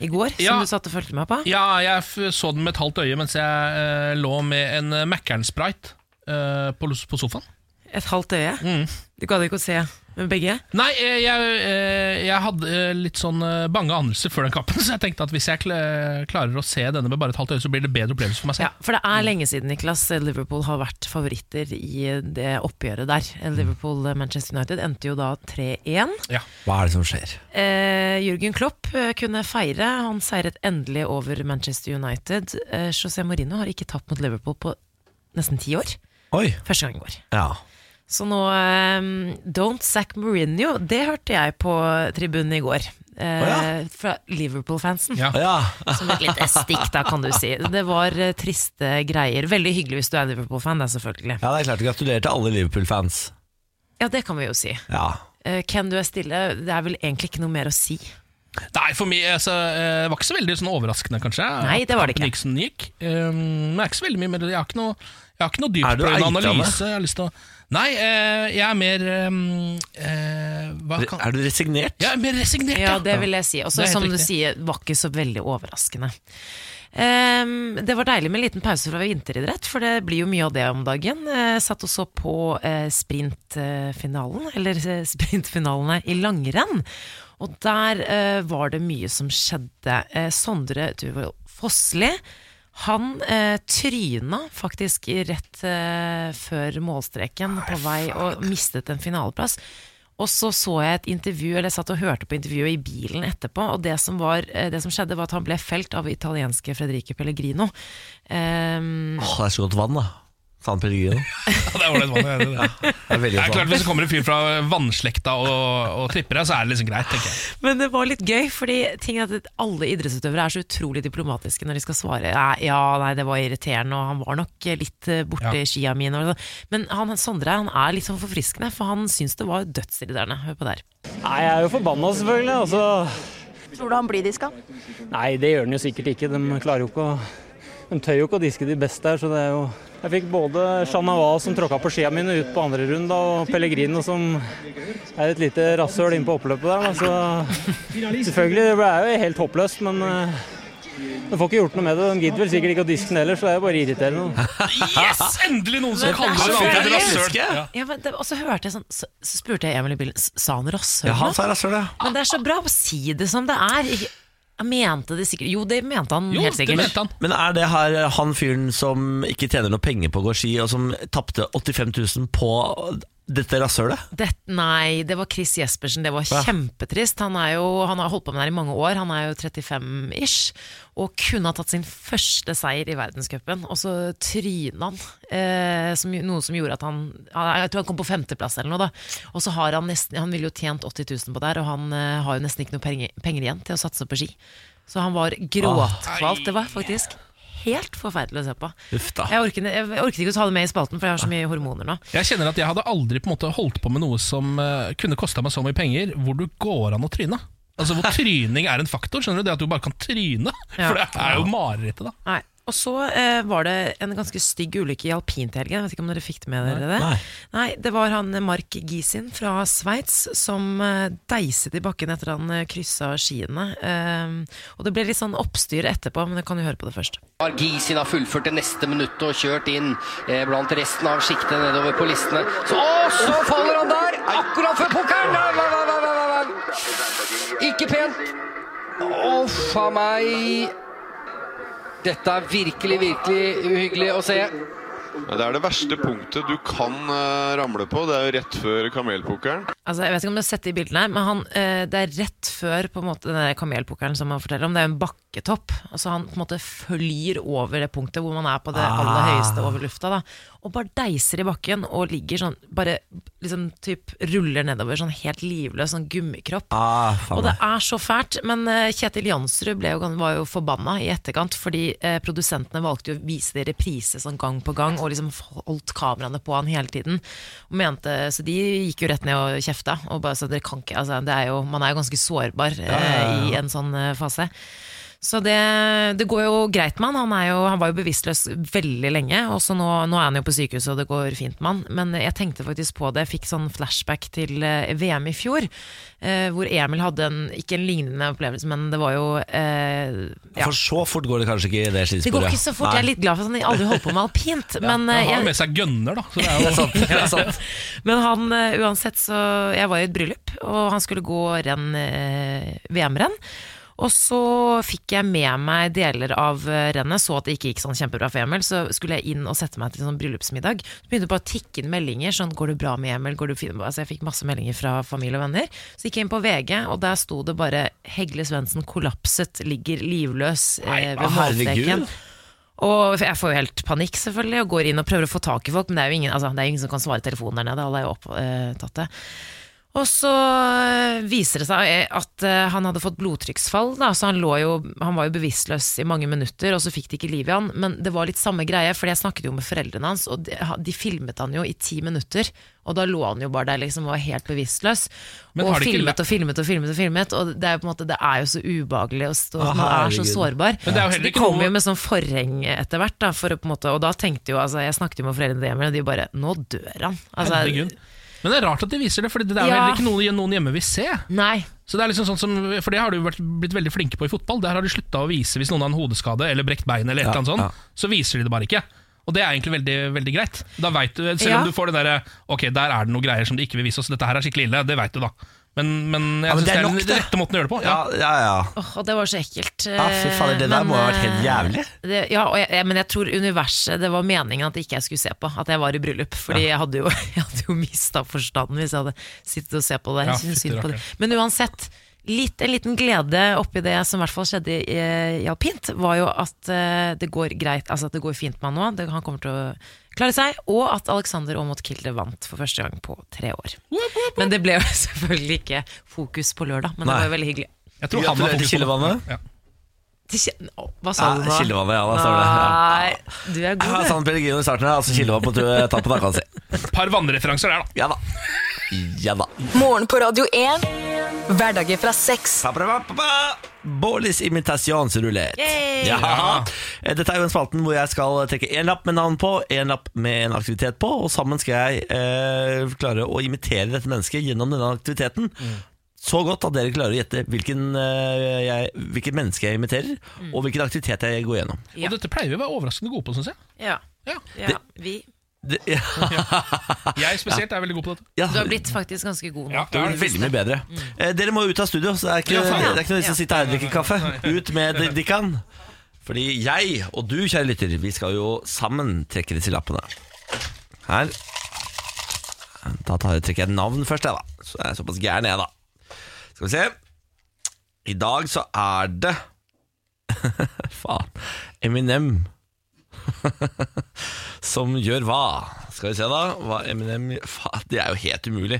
C: i går
B: Ja.
C: som du satt og fulgte med på?
B: ja jeg f så den med et halvt øye mens jeg eh, lå med en eh, Mækkern-sprite eh, på, på sofaen.
C: Et halvt øye? Du gadd ikke å se med begge?
B: Nei, eh, jeg, eh, jeg hadde eh, litt sånn eh, bange anelser før den kampen, så jeg tenkte at hvis jeg kl- klarer å se denne med bare et halvt øye, så blir det bedre opplevelse for meg selv.
C: For det er lenge siden Niklas Liverpool har vært favoritter i det oppgjøret der. Liverpool-Manchester United endte jo da 3-1.
B: Ja.
A: Hva er det som skjer?
C: Eh, Jørgen Klopp eh, kunne feire. Han seiret endelig over Manchester United. Eh, José Mourinho har ikke tapt mot Liverpool på nesten ti år.
A: Oi.
C: Første gang i går.
A: Ja.
C: Så nå eh, Don't sack Mourinho, det hørte jeg på tribunen i går. Eh, Fra Liverpool-fansen.
A: Ja. Ja.
C: Som et lite stikk, da, kan du si. Det var eh, triste greier. Veldig hyggelig hvis du er Liverpool-fan, da, selvfølgelig.
A: Ja, det er klart. Gratulerer til alle Liverpool-fans.
C: Ja, det kan vi jo si.
A: Ja.
C: Eh, Ken, du er stille. Det er vel egentlig ikke noe mer å si.
B: Nei, for meg altså, eh, Det var ikke så veldig sånn overraskende, kanskje.
C: Nei, det var det
B: at kampen gikk som den gikk. Um, men det er ikke så veldig mye mer. Jeg har ikke noe, jeg har ikke noe
A: Er du
B: dyptpløyende
A: eitende?
B: analyse. Jeg har lyst til å Nei, eh, jeg er mer um, eh, hva kan...
A: Er du resignert?
B: Jeg er mer resignert,
C: Ja, det vil jeg si. Også,
B: Det er helt
C: som du
B: riktig.
C: sier, var ikke så veldig overraskende. Ehm, det var deilig med en liten pause fra vinteridrett, for det blir jo mye av det om dagen. Eh, satt og så på eh, sprintfinalen, eller eh, sprintfinalene i langrenn. Og der eh, var det mye som skjedde. Eh, Sondre Duvold Fossli han eh, tryna faktisk rett eh, før målstreken på vei og mistet en finaleplass. Og så så jeg et intervju, eller jeg satt og hørte på intervjuet i bilen etterpå, og det som, var, eh, det som skjedde var at han ble felt av italienske Fredrike Pellegrino. Ehm,
A: Åh, det er så godt vann, da. San Pellegrino.
B: Ja, det er ålreit vann å gjøre det.
A: Det er veldig
B: Det er
A: godt
B: klart, Hvis
A: vann.
B: det kommer en fyr fra vannslekta og, og klipper deg, så er det liksom greit. tenker jeg
C: men det var litt gøy, fordi ting er at alle idrettsutøvere er så utrolig diplomatiske når de skal svare nei, ja, nei, det var irriterende, og han var nok eh, litt eh, borte i skia mine. og sånn. Men han, Sondre han er litt sånn forfriskende, for han syns det var dødsirriterende. Hør på der.
N: Nei, jeg er jo forbanna selvfølgelig. Altså. Tror du han blir diska? Nei, det gjør han jo sikkert ikke. De klarer jo ikke å De tør jo ikke å diske de beste her, så det er jo Jeg fikk både Chanava som tråkka på skia mine ut på andre runde, og Pellegrino som er et lite rasshøl inn på oppløpet der, da, så Selvfølgelig, det ble- er jo helt håpløst, men eh, de får ikke gjort noe med det. De gidder vel sikkert ikke å diske den heller, så det er jo bare irriterende.
B: Yes! Endelig noen som
C: Men
B: kaller det
C: det er så
B: for et
C: deilig.
B: rasshøl. Ja.
C: Ja, men det, og så hørte jeg sånn Så, så spurte jeg Emil i bilen "S- Sa han rasshøl?
A: Ja, han
C: nå?"
A: sa rasshøl, ja.
C: Men det er så bra å si det som det er Ikke- Han mente det sikkert Jo, det mente han helt sikkert
A: Men er det her han fyren som ikke tjener noe penger på å gå ski, og som tapte 85 000 på dette rasshølet?
C: det, Nei, det var Chris Jespersen Det var
A: Ja.
C: kjempetrist Han, er jo, han har holdt på med det her i mange år Han er jo 35-ish Og kunne ha tatt sin første seier i verdenscupen Og så tryna han eh, som, Noe som gjorde at han ja, Jeg tror han kom på femteplass eller noe da Og så har han nesten Han ville jo tjent 80 000 på det her Og han eh, har jo nesten ikke noe penger, penger igjen til å satse på ski Så han var gråtkvalt Det var faktisk helt forferdelig å se på
A: Uff da.
C: Jeg orket, jeg orket ikke å ta det med i spalten, for jeg har så mye hormoner nå.
B: Jeg kjenner at jeg hadde aldri på en måte holdt på med noe som eh, kunne kosta meg så mye penger, hvor du går an å tryne. Altså Hvor tryning er en faktor. Skjønner du Det at du bare kan tryne.
C: Ja.
B: For det er jo marerittet, da.
C: Nei. Og så eh, var det en ganske stygg ulykke i alpint i helgen. Jeg Vet ikke om dere fikk det med dere det?
B: Nei.
C: Nei, det var han eh, Mark Gisin fra Sveits som eh, deiset i bakken etter han eh, kryssa skiene. Eh, og det ble litt sånn oppstyr etterpå, men det kan jo høre på det først.
O: Har Gisin har fullført det neste minuttet og kjørt inn eh, blant resten av sjiktet nedover på listene. Så, og så faller han der! Akkurat før pokeren! Nei, nei, nei, nei, nei, nei. Ikke pent. Å, faen meg. Dette er virkelig, virkelig uhyggelig å se.
P: Det er det verste punktet du kan eh, ramle på. Det er jo rett før kamelpokeren.
C: Altså, jeg vet ikke om du har sett de bildene, men han, eh, det er rett før på en måte, den der kamelpokeren som han forteller om. Det er jo en bakketopp. Altså, han på en måte flyr over det punktet hvor man er på det aller
P: Ah.
C: høyeste over lufta. Da, og bare deiser i bakken og ligger sånn, bare liksom typ ruller nedover sånn helt livløs, sånn gummikropp.
A: Ah,
P: faen
C: og det er så fælt. Men eh, Kjetil Jansrud ble jo, gan- var jo forbanna i etterkant, fordi eh, produsentene valgte jo å vise det i reprise sånn gang på gang, og liksom holdt kameraene på han hele tiden. Og mente, så de gikk jo rett ned og kjefta. Og bare så dere kan ikke altså, det er jo, Man er jo ganske sårbar eh,
P: ja, ja.
C: i en sånn eh, fase. Så det, det går jo greit med han. Han, er jo, han var jo bevisstløs veldig lenge. Og så nå, nå er han jo på sykehuset, og det går fint med han. Men jeg tenkte faktisk på det. Jeg fikk sånn flashback til eh, VM i fjor. Eh, hvor Emil hadde en, ikke en lignende opplevelse, men det var jo eh, ja.
A: For så fort går det kanskje ikke i det skisporet.
C: Det går ikke så fort. Jeg er litt glad for at han aldri holdt på med alpint.
B: Han
C: Men, eh,
B: har
C: jeg-
B: jo med seg gønner, da. Så det er
A: Det
B: jo
A: er sant, det er sant.
C: men han, eh, uansett så Jeg var i et bryllup, og han skulle gå renn, eh, VM-renn. Og så fikk jeg med meg deler av eh, rennet, så at det ikke gikk sånn kjempebra for Emil. Så skulle jeg inn og sette meg til sånn bryllupsmiddag. Så begynte det bare å tikke inn meldinger. sånn, går det bra med Emil? Går det fint? Altså, jeg fikk masse meldinger fra familie og venner. Så gikk jeg inn på VG, og der sto det bare 'Hegle Svendsen kollapset, ligger livløs eh,
P: Nei,
C: ved
P: herregud.
C: målstreken'. Og jeg får jo helt panikk selvfølgelig og går inn og prøver å få tak i folk, men det er jo ingen, altså, det er jo ingen som kan svare telefonen der nede. Alle er jo opptatt. Og så eh, viser det seg eh, at eh, han hadde fått blodtrykksfall, da, så han, lå jo, han var jo bevisstløs i mange minutter, og så fikk de ikke liv i han. Men det var litt samme greie, for jeg snakket jo med foreldrene hans, og de, ha- de filmet han jo i ti minutter. Og da lå han jo bare der liksom og var helt bevisstløs.
P: Men
C: og
P: har de ikke
C: filmet
P: lært-
C: og filmet og filmet og filmet. Og det er jo på en måte, det er jo så ubehagelig å stå
P: Å,
C: Man er så
P: herregud.
C: sårbar.
P: Men det er jo
C: Så
P: heller
C: de
P: ikke
C: kommer
P: noe-
C: jo med sånn forheng etter hvert, da, for å på en måte, og da tenkte jo altså, Jeg snakket jo med foreldrene til Emil, og de bare Nå dør han. Altså,
B: Herregud. Men det er rart at de viser det, for det er jo
C: Ja.
B: heller ikke noen, noen hjemme vil se.
C: Nei.
B: Så det er liksom sånn som, for det har du vært, blitt veldig flinke på i fotball. Der har de slutta å vise hvis noen har en hodeskade eller brekt bein, eller et
A: Ja,
B: eller annet sånt,
A: ja.
B: så viser de det bare ikke. Og det er egentlig veldig, veldig greit. Da vet du, Selv
A: Ja.
B: om du får det derre Ok, der er det noen greier som de ikke vil vise oss, dette her er skikkelig ille, det veit du da. Men, men jeg
A: Ja, men
B: synes
A: det
B: det
A: er
B: er,
A: nok,
B: den
A: det.
B: rette måten å gjøre det på.
A: Ja, ja, ja.
C: Åh, og det var så ekkelt.
A: Ja, fy faen, det der
C: Men,
A: må ha vært helt
C: eh,
A: jævlig.
C: Det, ja, og jeg, jeg- men jeg tror universet Det var meningen at ikke jeg skulle se på. At jeg var i bryllup. Fordi jeg hadde jo, jeg hadde jo mista forstanden hvis jeg hadde sittet og sett på det.
P: Ja,
C: Jeg synes
P: fytti
C: synd på det.
P: rakkeren.
C: Men uansett. Litt, en liten glede oppi det som i hvert fall skjedde i, eh, i alpint, var jo at eh, det går greit, altså at det går fint med han nå. Det, han kommer til å klare seg. Og at Alexander Aamodt Kilde vant for første gang på tre år. Men det ble jo selvfølgelig ikke fokus på lørdag, men det
A: Nei.
C: var jo veldig hyggelig.
B: Jeg tror han har
A: Gratulerer til
B: fokus på det.
A: kildevannet.
C: Til kje- Å, Hva sa
A: Ja,
C: du nå?
A: kildevannet, ja, da står det, ja.
C: Nei, du er
A: Ja, sånn.
C: god,
A: San Pellegrino i starten her, altså kildevann på tue- tappen av kanskje.
B: Par vannreferanser der, da.
A: Ja da. Ja da.
D: Morgen på Radio 1. Hverdager fra seks.
A: Bålis imitasjonsrulett.
D: Yay!
A: Ja. Eh, Dette er jo en spalten hvor jeg skal trekke én lapp med navn på, én lapp med en aktivitet på, og sammen skal jeg eh, klare å imitere dette mennesket gjennom denne aktiviteten. Så godt at dere klarer å gjette hvilken, eh, jeg, hvilket menneske jeg imiterer, og hvilken aktivitet jeg går gjennom.
B: Og dette pleier vi å være overraskende gode på, syns jeg.
C: Ja.
A: Det-
C: vi.
A: Det, ja. Ah,
B: Jeg spesielt er veldig god på dette.
A: Ja.
C: Du har blitt faktisk ganske god nå.
A: Det er veldig mye bedre. Eh, dere må ut av studio, så det er ikke,
C: Ja, faen.
A: det er ikke noe vits i å
C: Ja.
A: sitte her og drikke kaffe. Ut med det de kan. Fordi jeg og du, kjære lytter, vi skal jo sammen trekke disse lappene. Her. Da tar jeg, trekker jeg navn først, jeg, da. Så jeg er såpass gæren, jeg, da. Skal vi se. I dag så er det Faen. Eminem. Som gjør hva? Skal vi se, da. Hva Eminem Faen, det er jo helt umulig.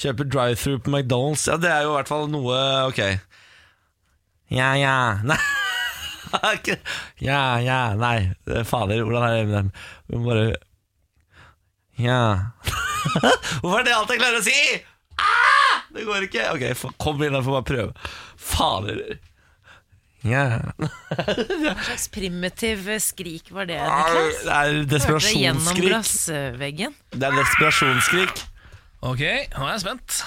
A: Kjøper drive-through på McDonald's. Ja, det er jo i hvert fall noe Ok. Ja, ja. Nei. Ikke- ja, ja, nei. Fader, hvordan er det Eminem? Vi må bare Ja. Hvorfor er det alt jeg klarer å si? Ah! Det går ikke. Ok, fa- kom inn, jeg får bare prøve. Fader. Ja.
C: Hva slags primitiv skrik var det?
A: Au,
C: Niklas?
A: det er desperasjonsskrik.
C: Hørte gjennom glassveggen.
A: Det er desperasjonsskrik.
B: Ok, nå er jeg spent.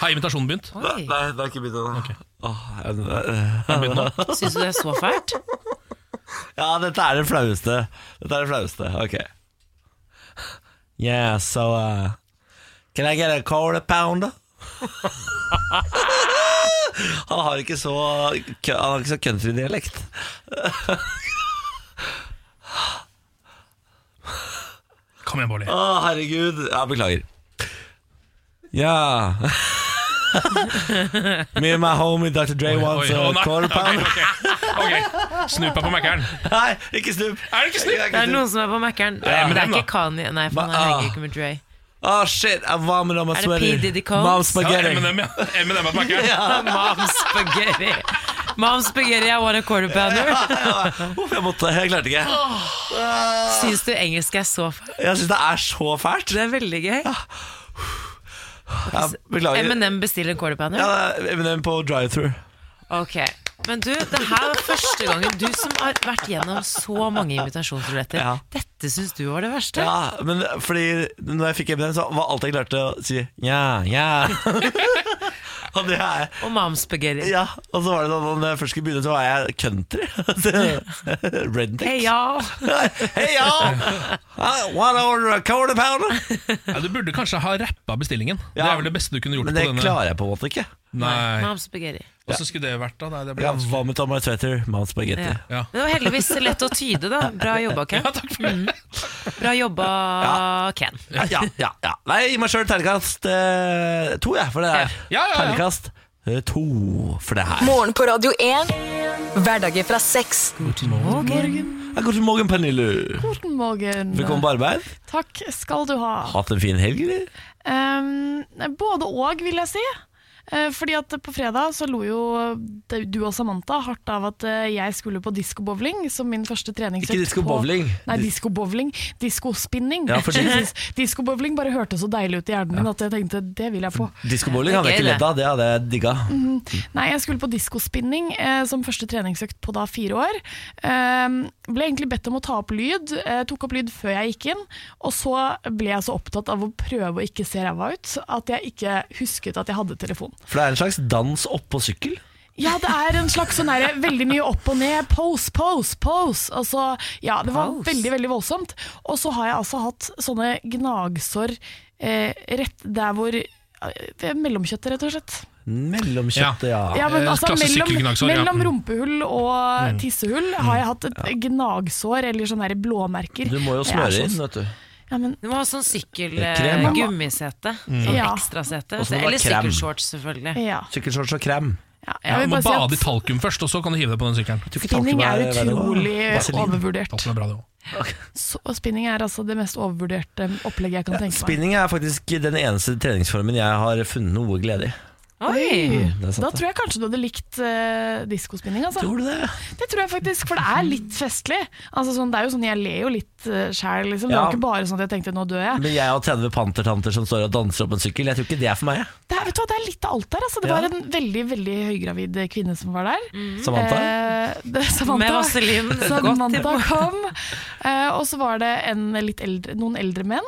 B: Har imitasjonen begynt?
A: Nei, nei, det er ikke begynt ennå.
B: Har den begynt nå?
C: Syns du det er så fælt?
A: Ja, dette er det flaueste. Dette er det flaueste. Ok. Yeah, so uh, Can I get a quarter pound? Han har ikke så Han har ikke så countrydialekt.
B: Kom igjen, Bårli.
A: Å, herregud. Ja, beklager. Ja Me and my homie Dr. Dre wants
B: oi, å,
A: a
B: nei.
A: quarter pound.
B: Ok, Snup deg på Mækkern.
A: Nei, ikke snup.
B: Er det ikke snup?
C: Det er noen som er på Mækkern.
A: Ja, men
C: det er
A: den,
C: ikke Kanye. Nei, for han
A: Hva-
C: henger ikke med Dre.
A: Oh shit, I'm vomiting on my
C: Er det
A: sweater.
C: P. Diddy Combs?
A: Mom's spaghetti.
C: Ja,
B: M&M, ja. M&M på Mækkern.
C: Ja, Mom spaghetti. Mom spaghetti, I want a quarter pounder.
A: Uff, jeg måtte, jeg klarte ikke.
C: Syns du engelsk er så fælt?
A: Jeg syns det er så fælt.
C: Det er veldig gøy.
A: Ja, beklager.
C: M&M bestiller en quarter pounder?
A: Ja, det er M&M på drive-thru.
C: Ok, men du, det her var første gangen du som har vært gjennom så mange invitasjonsruletter.
A: Ja.
C: Dette syns du var det verste?
A: Ja, men fordi når jeg fikk M&M, så var alt jeg klarte å si ja, ja. og det er
C: Og momspaghetti.
A: Ja, og så var det sånn når jeg først skulle begynne, så var jeg country. Så- Redneck.
C: Heia!
A: Heia! One order a quarter pounder.
B: Ja, du burde kanskje ha rappa bestillingen. Det er vel det beste du kunne gjort.
A: Men det
B: på denne.
A: klarer jeg på en måte ikke.
B: Nei.
C: Momspaghetti.
B: Og så skulle det vært da? Nei, det ble
A: Ja,
B: vanskelig.
A: Vomit on my sweater, mount spaghetti.
C: Ja. Men det var heldigvis lett å tyde, da. Bra jobba, Ken. Mm. Bra jobba, Ken.
A: Ja, ja, ja, ja. Nei, gi meg sjøl terningkast eh, to, jeg, for det her.
C: Ja, ja, ja.
A: Terningkast eh, to for det her.
D: Morgen på Radio 1. Hverdager fra seks.
A: Ja, God morgen, Pernille.
P: Guten Morgen.
A: Velkommen på arbeid.
P: Takk skal du ha.
A: Hatt en fin helg, eller?
P: Ehm, både og, vil jeg si. Eh, Fordi at på fredag så lo jo eh, du og Samantha hardt av at eh, jeg skulle på diskobowling som min første treningsøkt.
A: Ikke disco-bowling.
P: på- Nei, diskobowling. Diskospinning.
A: Ja, for det-
P: Diskobowling bare hørtes så deilig ut i hjernen min at jeg tenkte det vil jeg på.
A: Diskobowling hadde jeg ikke ledd av, det hadde jeg digga.
P: Mhm. Nei, jeg skulle på diskospinning eh, som første treningsøkt på da fire år. Ehm, ble egentlig bedt om å ta opp lyd. Eh, tok opp lyd før jeg gikk inn. Og så ble jeg så opptatt av å prøve å ikke se ræva ut at jeg ikke husket at jeg hadde telefon.
A: For det er en slags dans oppå sykkel.
P: Ja, det er en slags sånn her, veldig mye opp og ned. Pose, pose, pose. Altså, ja, det var
Q: Pose.
P: veldig, veldig voldsomt. Og så har jeg altså hatt sånne gnagsår eh, rett der hvor eh, Mellomkjøttet, rett og slett.
A: Mellomkjøttet, ja.
P: Ja, men altså, mellom, mellom
A: Eh, ja.
P: rumpehull og
A: Mm.
P: tissehull har jeg hatt et gnagsår, eller sånne her blåmerker.
A: Du må jo
P: Jeg er sånn
A: smøre
P: så-
A: inn, vet du.
P: Ja, men,
C: Du må ha sånn sykkel
A: Krem,
C: eh,
A: ja.
C: gummisete.
A: Mm.
C: Sånn
P: Ja.
C: ekstrasete.
A: Og så må du ha
C: Eller
A: krem.
C: sykkelshorts, selvfølgelig.
P: Ja.
A: Sykkelshorts og krem.
P: jeg vil
B: du må
P: bare si
B: bade
P: at-
B: i talkum først, og så kan du hive deg på den sykkelen.
P: Spinning er utrolig
B: Vaselin.
P: overvurdert.
B: Talkum er bra, det også.
P: så, og spinning er altså det mest overvurderte opplegget jeg kan tenke meg.
A: Spinning er faktisk den eneste treningsformen jeg har funnet noe glede i.
P: Oi!
A: Mm, det er sant,
P: Da
A: det.
P: tror jeg kanskje du hadde likt uh, diskospinning. Altså.
A: Tror du det?
P: Det tror jeg faktisk, for det er litt festlig. Altså, sånn, det er jo sånn, Jeg ler jo litt uh, sjæl, liksom. Det
A: Ja.
P: var ikke bare sånn at jeg tenkte nå dør jeg.
A: Men jeg og 30 pantertanter som står og danser opp en sykkel, jeg tror ikke det er for meg. jeg.
P: Det er, vet du hva, det er litt av alt der. Altså. Det
A: Ja.
P: var en veldig veldig høygravid kvinne som var der.
C: Mm.
A: Samantha?
P: Eh, det, Samantha.
C: Med vaselin. Godt i
P: Samantha
C: mål.
P: kom. Eh, og så var det en litt eldre, noen eldre menn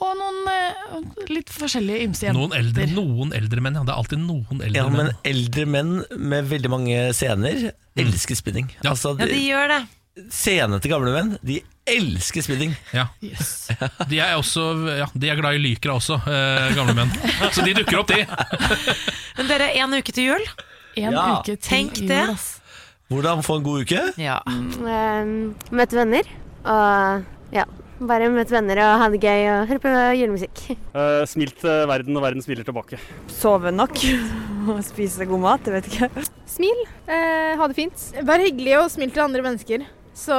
P: og noen eh, litt forskjellige ymse jenter.
B: Noen eldre, noen eldre menn, ja. Det er alltid noen eldre
A: Ja, men
B: menn.
A: eldre menn med veldig mange scener elsker spinning. Altså,
C: Ja, de gjør det.
A: Senete gamle menn, de elsker spinning.
B: Ja. De er også ja, de er glad i lykra også, eh, gamle menn. Så de dukker opp, de.
C: Men dere, en uke til jul.
P: En
A: Ja. uke til
C: Tenk
P: jul,
C: det.
A: Hvordan få en god uke?
C: Ja.
R: møte Ehm, venner. Og ja, bare møte venner og ha det gøy og høre på julemusikk.
S: Eh, Smil til verden, og verden smiler tilbake.
T: Sove nok og spise god mat, jeg vet ikke.
U: Smil, eh, ha det fint. Vær hyggelig og smil til andre mennesker. Så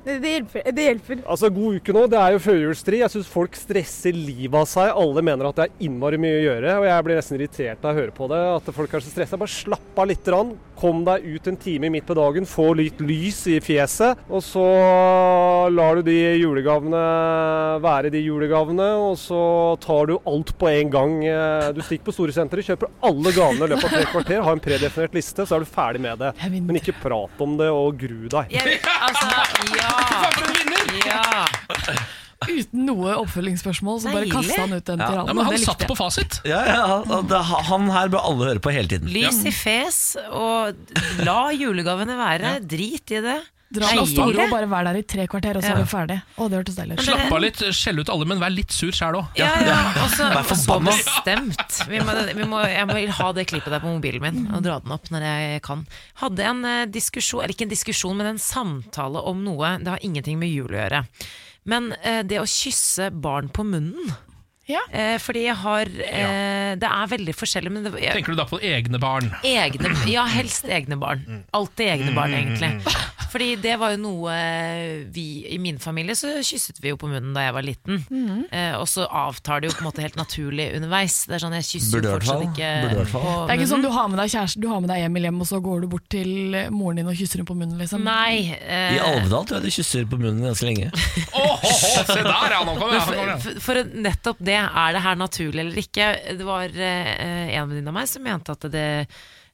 U: det, det hjelper. Det hjelper.
V: Altså, God uke nå. Det er jo førjulstri. Jeg syns folk stresser livet av seg. Alle mener at det er innmari mye å gjøre, og jeg blir nesten irritert av å høre på det. At folk er så stressa. Bare slapp av litt. Rann. Kom deg ut en time midt på dagen, få litt lys i fjeset. Og så lar du de julegavene være de julegavene, og så tar du alt på en gang. Eh, Du stikker på Storesenteret, kjøper alle gavene i løpet av tre kvarter, har en predefinert liste, så er du ferdig med det. Men ikke prat om det og gru deg.
C: Altså, ja. ja.
P: Uten noe oppfølgingsspørsmål, så bare
C: Deilig.
P: kasta han ut den til
A: Ja,
P: alle.
A: men han
P: Det likte
A: satt
P: jeg.
B: På fasit.
A: Ja, ja, han, det- han her bør alle høre på hele tiden.
C: Lys i fes, og la julegavene være. Drit i det.
P: Dra på
C: Deilig.
P: Storo og bare vær der i tre kvarter, og så
C: Ja.
P: er du ferdig. Å, det hørtes deilig ut.
B: Slapp av litt, skjell ut alle, men vær litt sur sjæl òg.
C: Ja, ja. Også,
B: Vær forbanna.
C: så bestemt. Vi må, vi må, jeg må ha det klippet der på mobilen min og dra den opp når jeg kan. Hadde en eh, diskusjon, eller ikke en diskusjon, men en samtale om noe. Det har ingenting med jul å gjøre. Men eh, det å kysse barn på munnen
P: ja.
C: eh, Fordi jeg har eh, Det er veldig forskjellig, men det, jeg,
B: Tenker du da på egne barn?
C: Egne, ja, helst egne barn. Alltid egne barn, egentlig. Fordi det var jo noe eh, vi I min familie så kysset vi jo på munnen da jeg var liten.
P: Mhm.
C: Eh, og så avtar det jo på en måte helt naturlig underveis. Det er sånn, jeg kysser
A: Burde i
C: jo
A: hvert
C: fortsatt
A: fall.
C: ikke
A: Burde i hvert fall.
C: på
P: Det er ikke sånn
C: munnen.
P: du har med deg kjæresten, du har med deg hjem i hjem, og så går du bort til moren din og kysser henne på munnen, liksom.
C: Nei. eh,
A: I Alvedal tror jeg de kysser på munnen ganske lenge.
B: se der, ja! Nå kommer
C: Men
B: jeg.
C: for, for, for nettopp det, er det her naturlig eller ikke? Det var eh, en venninne av meg som mente at, det,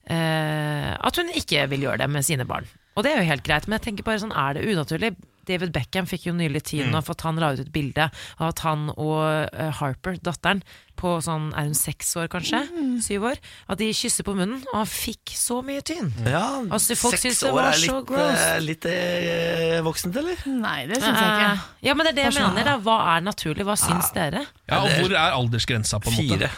C: eh, at hun ikke vil gjøre det med sine barn. Og det er jo helt greit, men jeg tenker bare sånn, er det unaturlig? David Beckham fikk jo nylig tiden
W: Mm.
C: av at han la ut et bilde av at han og eh, Harper, datteren, på sånn, er hun seks år kanskje?
P: Mm.
C: Syv år? At de kysser på munnen, og han fikk så mye tyn.
B: Mm.
A: Ja,
C: altså, folk
A: seks
C: synes det
A: år
C: var
A: er
C: så
A: litt,
C: gross.
A: eh, litt eh, voksent, eller?
P: Nei, det syns jeg ikke.
C: Eh, Ja, men det er det jeg
P: Personlig.
C: mener, da. Hva er naturlig? Hva syns dere?
B: Ja, og hvor er aldersgrensa, på en måte?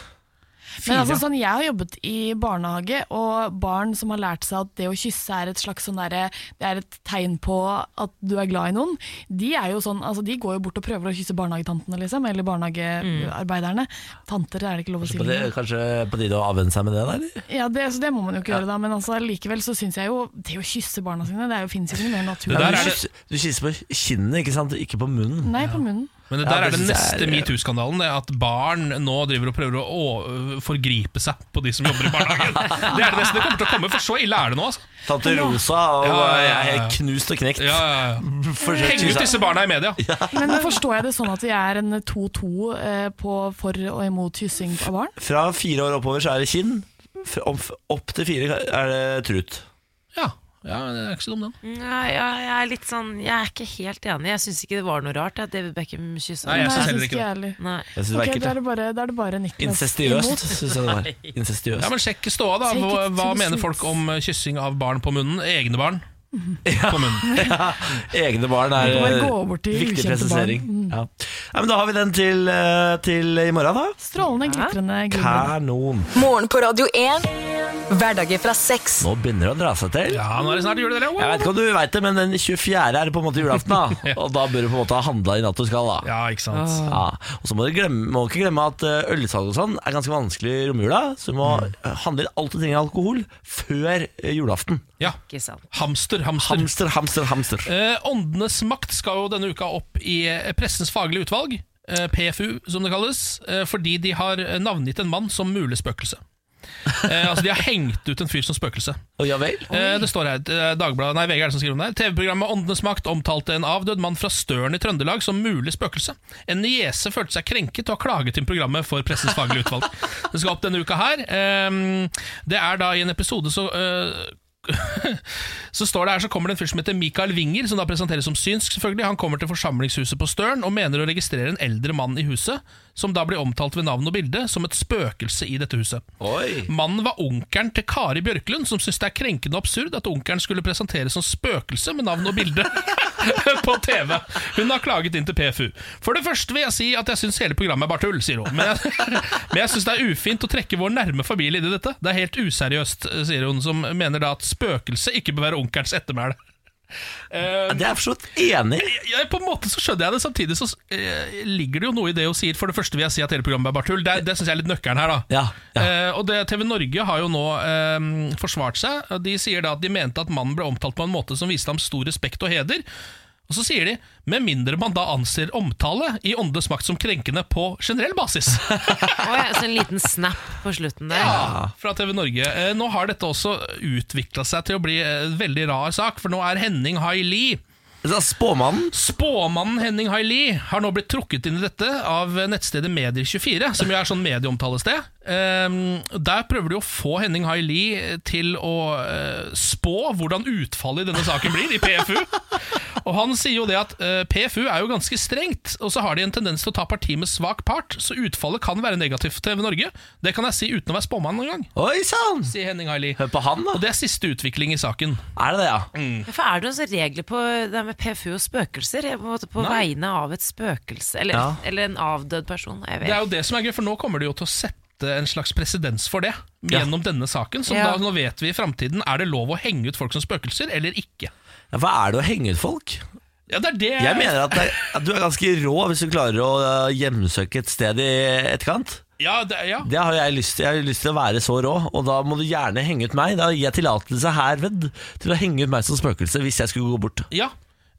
P: Men
B: Fire.
P: altså, sånn, Jeg har jobbet i barnehage, og barn som har lært seg at det å kysse er et slags sånn derre- det er et tegn på at du er glad i noen, de, er jo sånn, altså, de går jo bort og prøver å kysse barnehagetantene, liksom, eller barnehagearbeiderne. Tanter er det ikke lov å si.
A: På det,
P: lenger.
A: kanskje på tide å avvenne seg med det, da? eller?
P: Ja, det, så det må man jo ikke gjøre, da, men altså, likevel så syns jeg jo det å kysse barna sine det er jo, finnes jo ikke noe mer
A: Ja,
P: naturlig.
A: men du, kysser, du kysser på kinnet, ikke sant? Ikke på munnen.
P: Nei, på munnen.
B: Men det
A: Ja,
B: der
A: det
B: er den
A: synes jeg
B: neste
A: er-
B: metoo-skandalen. Det er At barn nå driver og prøver å, å forgripe seg på de som jobber i barnehagen. Det er det neste det kommer til å komme, for så ille er det nå. Altså.
A: Tante Rosa og jeg er helt knust og knekt.
B: Ja, ja, ja.
A: Forsøk
B: Heng ut
A: kyssa.
B: disse barna i media!
P: Men
C: eh,
P: forstår jeg det sånn at vi er en 2-2 eh, på for og imot kyssing av barn?
A: Fra fire år oppover så er det kinn. Fra- om- Opp til fire er det trut.
B: Ja, det er ikke så dum, den.
C: Nei, ja, jeg er litt sånn Jeg er ikke helt enig. Jeg syns ikke det var noe rart at David Beckham kyssa
A: Nei, jeg synes heller
P: Synes ikke jeg heller.
C: Nei.
A: Jeg synes det var
P: Ok,
A: ekkelt,
P: da
A: ja.
P: er det bare, da er det bare Niklas
A: Incestiøst,
P: imot.
A: syns jeg det var. Incestiøst.
B: Ja, men Sjekk ståa, da.
P: Take
B: Hva,
P: it to
B: hva
P: the
B: mener
P: streets.
B: folk om eh, kyssing av barn på munnen? Egne barn på munnen.
A: Egne barn er
B: Du bare
A: eh,
B: går bort til
A: viktig
B: ukjente
A: presisering. Ja. Nei, men da har vi den til, eh, til i morgen, da.
P: Strålende, glitrende, glimrende.
A: Kanon.
D: Morgen på Radio 1. Hverdager fra seks.
A: Nå begynner det å dra seg til.
B: Ja, nå er det snart jul, dere.
A: Jeg vet ikke om du vet det, men den 24. er det på en måte julaften. da Og da bør du på en måte ha handla i natt du skal. da
B: Ja, ikke sant
A: ja. Og så må du glemme, må ikke glemme at eh, ølsalg og sånn er ganske vanskelig i romjula. Så du må
B: Mm.
A: eh, handle inn alt du trenger av alkohol før eh, julaften.
B: Ja. Hamster, hamster.
A: Hamster, hamster, hamster.
B: Eh, åndenes makt skal jo denne uka opp i eh, pressens faglige utvalg, eh, PFU som det kalles, eh, fordi de har eh, navngitt en mann som mulig spøkelse. eh, altså De har hengt ut en fyr som spøkelse.
A: Oh, ja vel?
B: Eh, det står her, eh, Dagbladet, nei, VG er det som skriver om det her. TV-programmet Åndenes makt omtalte en avdød mann fra Støren i Trøndelag som mulig spøkelse. En niese følte seg krenket og har klaget inn programmet for pressens faglige utvalg. Det skal opp denne uka her. Ehm, det er da i en episode så eh, så står det her, så kommer det en fyr som heter Mikael Winger, som da presenteres som synsk. selvfølgelig Han kommer til forsamlingshuset på Støren og mener å registrere en eldre mann i huset, som da blir omtalt ved navn og bilde som et spøkelse i dette huset. Mannen var onkelen til Kari Bjørklund, som syns det er krenkende og absurd at onkelen skulle presenteres som spøkelse med navn og bilde på TV. Hun har klaget inn til PFU. For det første vil jeg si at jeg syns hele programmet er bare tull, sier hun. Men jeg, men jeg syns det er ufint å trekke vår nærme familie inn i dette. Det er helt useriøst, sier hun, som mener da at spøkelse ikke bør være onkelens ettermæle.
A: det er jeg forstått enig i.
B: Ja, på en måte så skjønner jeg det. Samtidig så eh, ligger det jo noe i det hun sier. For det første vil jeg si at hele programmet er bare tull. Det, det syns jeg er litt nøkkelen her, da. Eh, og det, TV Norge har jo nå eh, forsvart seg. og De sier da at de mente at mannen ble omtalt på en måte som viste ham stor respekt og heder. Og så sier de med mindre man da anser omtale i åndenes makt som krenkende på generell basis.
C: Å, ja, så en liten snap på slutten der.
B: Ja, fra TV Norge. Eh, Nå har dette også utvikla seg til å bli eh, en veldig rar sak, for nå er Henning Haili
A: Altså, Spåmannen?
B: Spåmannen Henning Haili har nå blitt trukket inn i dette av nettstedet Medier24, som jo er sånn medieomtalested. Ehm, Der prøver de å få Henning Haili til å eh, spå hvordan utfallet i denne saken blir, i PFU. Og han sier jo det at eh, PFU er jo ganske strengt, og så har de en tendens til å ta parti med svak part, så utfallet kan være negativt for TV Norge. Det kan jeg si uten å være spåmann noen gang.
A: Oi sann!
B: Sier Henning Haili.
A: Hør på han, da.
B: Og det Mm. er siste utvikling i saken.
A: Er det det, ja?
C: Hvorfor er det noen sånne regler på det med PFU og spøkelser? På, en måte på
B: Nei.
C: vegne av et spøkelse, eller,
B: Ja.
C: eller en avdød person. Jeg
B: Det er
C: vet.
B: jo det som er gøy, for nå kommer de jo til å sette en slags presedens for det gjennom denne saken. Så
C: Ja.
B: da, nå vet vi i framtiden er det lov å henge ut folk som spøkelser eller ikke.
A: Ja, Hva er det å henge ut folk?
B: Ja, det er det
A: Jeg mener at, det, er- at du er ganske rå hvis du klarer å eh, hjemsøke et sted i etterkant.
B: Ja, det, ja.
A: Det har jeg lyst til. Jeg har lyst til å være så rå, og da må du gjerne henge ut meg. Da gir jeg tillatelse herved til å henge ut meg som spøkelse hvis jeg skulle gå bort.
B: Ja.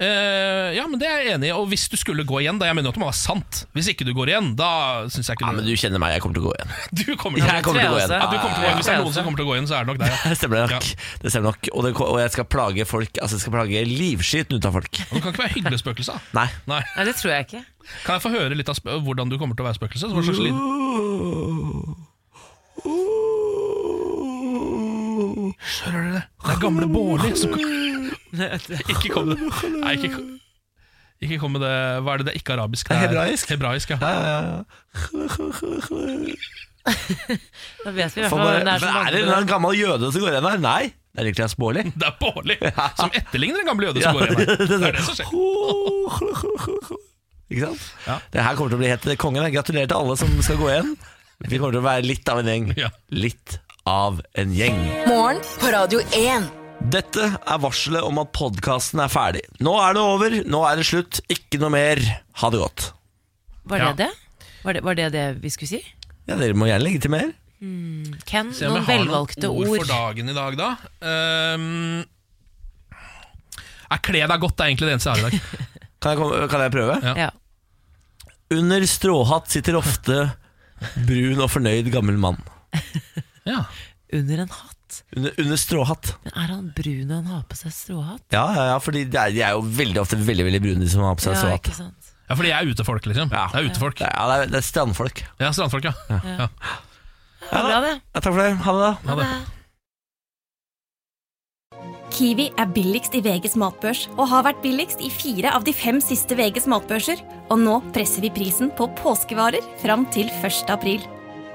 B: Eh, ja, men det er jeg enig i. Og hvis du skulle gå igjen, da jeg mener jo at det må være sant. Hvis ikke du går igjen, da syns jeg ikke
A: Ja, men du kjenner meg, jeg kommer til å gå igjen.
B: Du kommer til,
A: Jeg kommer til å gå igjen.
B: Ja, du kommer til å gå igjen. Hvis det er noen som kommer til å gå igjen, så er det nok deg.
A: Det stemmer nok. Det stemmer nok. Og, det, og jeg skal plage folk Altså jeg skal plage livskiten ut av folk.
B: Du kan ikke være hyggelig spøkelse. da.
A: Nei.
B: Nei.
C: det tror jeg ikke.
B: Kan jeg få høre litt av sp hvordan du kommer til å være spøkelse? Så hva slags lyd? Hører dere det? Det er gamle Bårli som Nei, Ikke kom med det. Nei, ikke kom. Ikke kom med det Hva er det det er ikke arabisk? Det er
A: Hebraisk.
B: Hebraisk, ja.
C: Da vet vi i hvert
A: For
C: fall
A: bare,
C: hvem det
A: er
C: er som
A: det en eller annen gammel jøde som går igjen her? Nei, det er Niklas Baarli.
B: Det er Bårli som etterligner en gammel jøde som
A: Ja,
B: går igjen. her.
A: det-
B: Det er det som skjer.
A: Ikke sant? Det her kommer til å bli helt kongen. Gratulerer til alle som skal gå igjen. Vi kommer til å være litt av en gjeng. Litt av en gjeng.
D: Morgen på Radio 1.
A: Dette er varselet om at podkasten er ferdig. Nå er det over, nå er det slutt. Ikke noe mer. Ha det godt.
C: Var det det? Var det, var det det vi skulle si?
A: Ja, Dere må gjerne legge til mer.
C: Hmm. Ken,
B: Se om jeg har
C: noen
B: noen
C: velvalgte
B: ord
C: ord.
B: for dagen i dag, da. Um, er Kle deg godt, det er egentlig det eneste jeg har i dag.
A: Kan jeg, komme- kan jeg prøve?
B: Ja.
A: Under stråhatt sitter ofte brun og fornøyd gammel mann.
C: Under en hatt?
A: Under, under stråhatt.
C: Men er han brun og han har på seg stråhatt?
A: Ja, ja, ja fordi det er, de er jo veldig ofte veldig veldig brune, de som har på seg
C: Ja,
A: stråhatt.
C: ikke sant?
B: Ja, fordi jeg er utefolk, liksom. Ja. Det er utefolk.
A: Ja, det er, det er strandfolk.
B: Ja, strandfolk, ja.
C: Ja.
A: Ja,
C: bra det.
A: Ja, takk for det. Ha det, da.
B: Ha det.
W: Kiwi er billigst i VGs matbørs og har vært billigst i fire av de fem siste VGs matbørser. Og nå presser vi prisen på påskevarer fram til 1. april.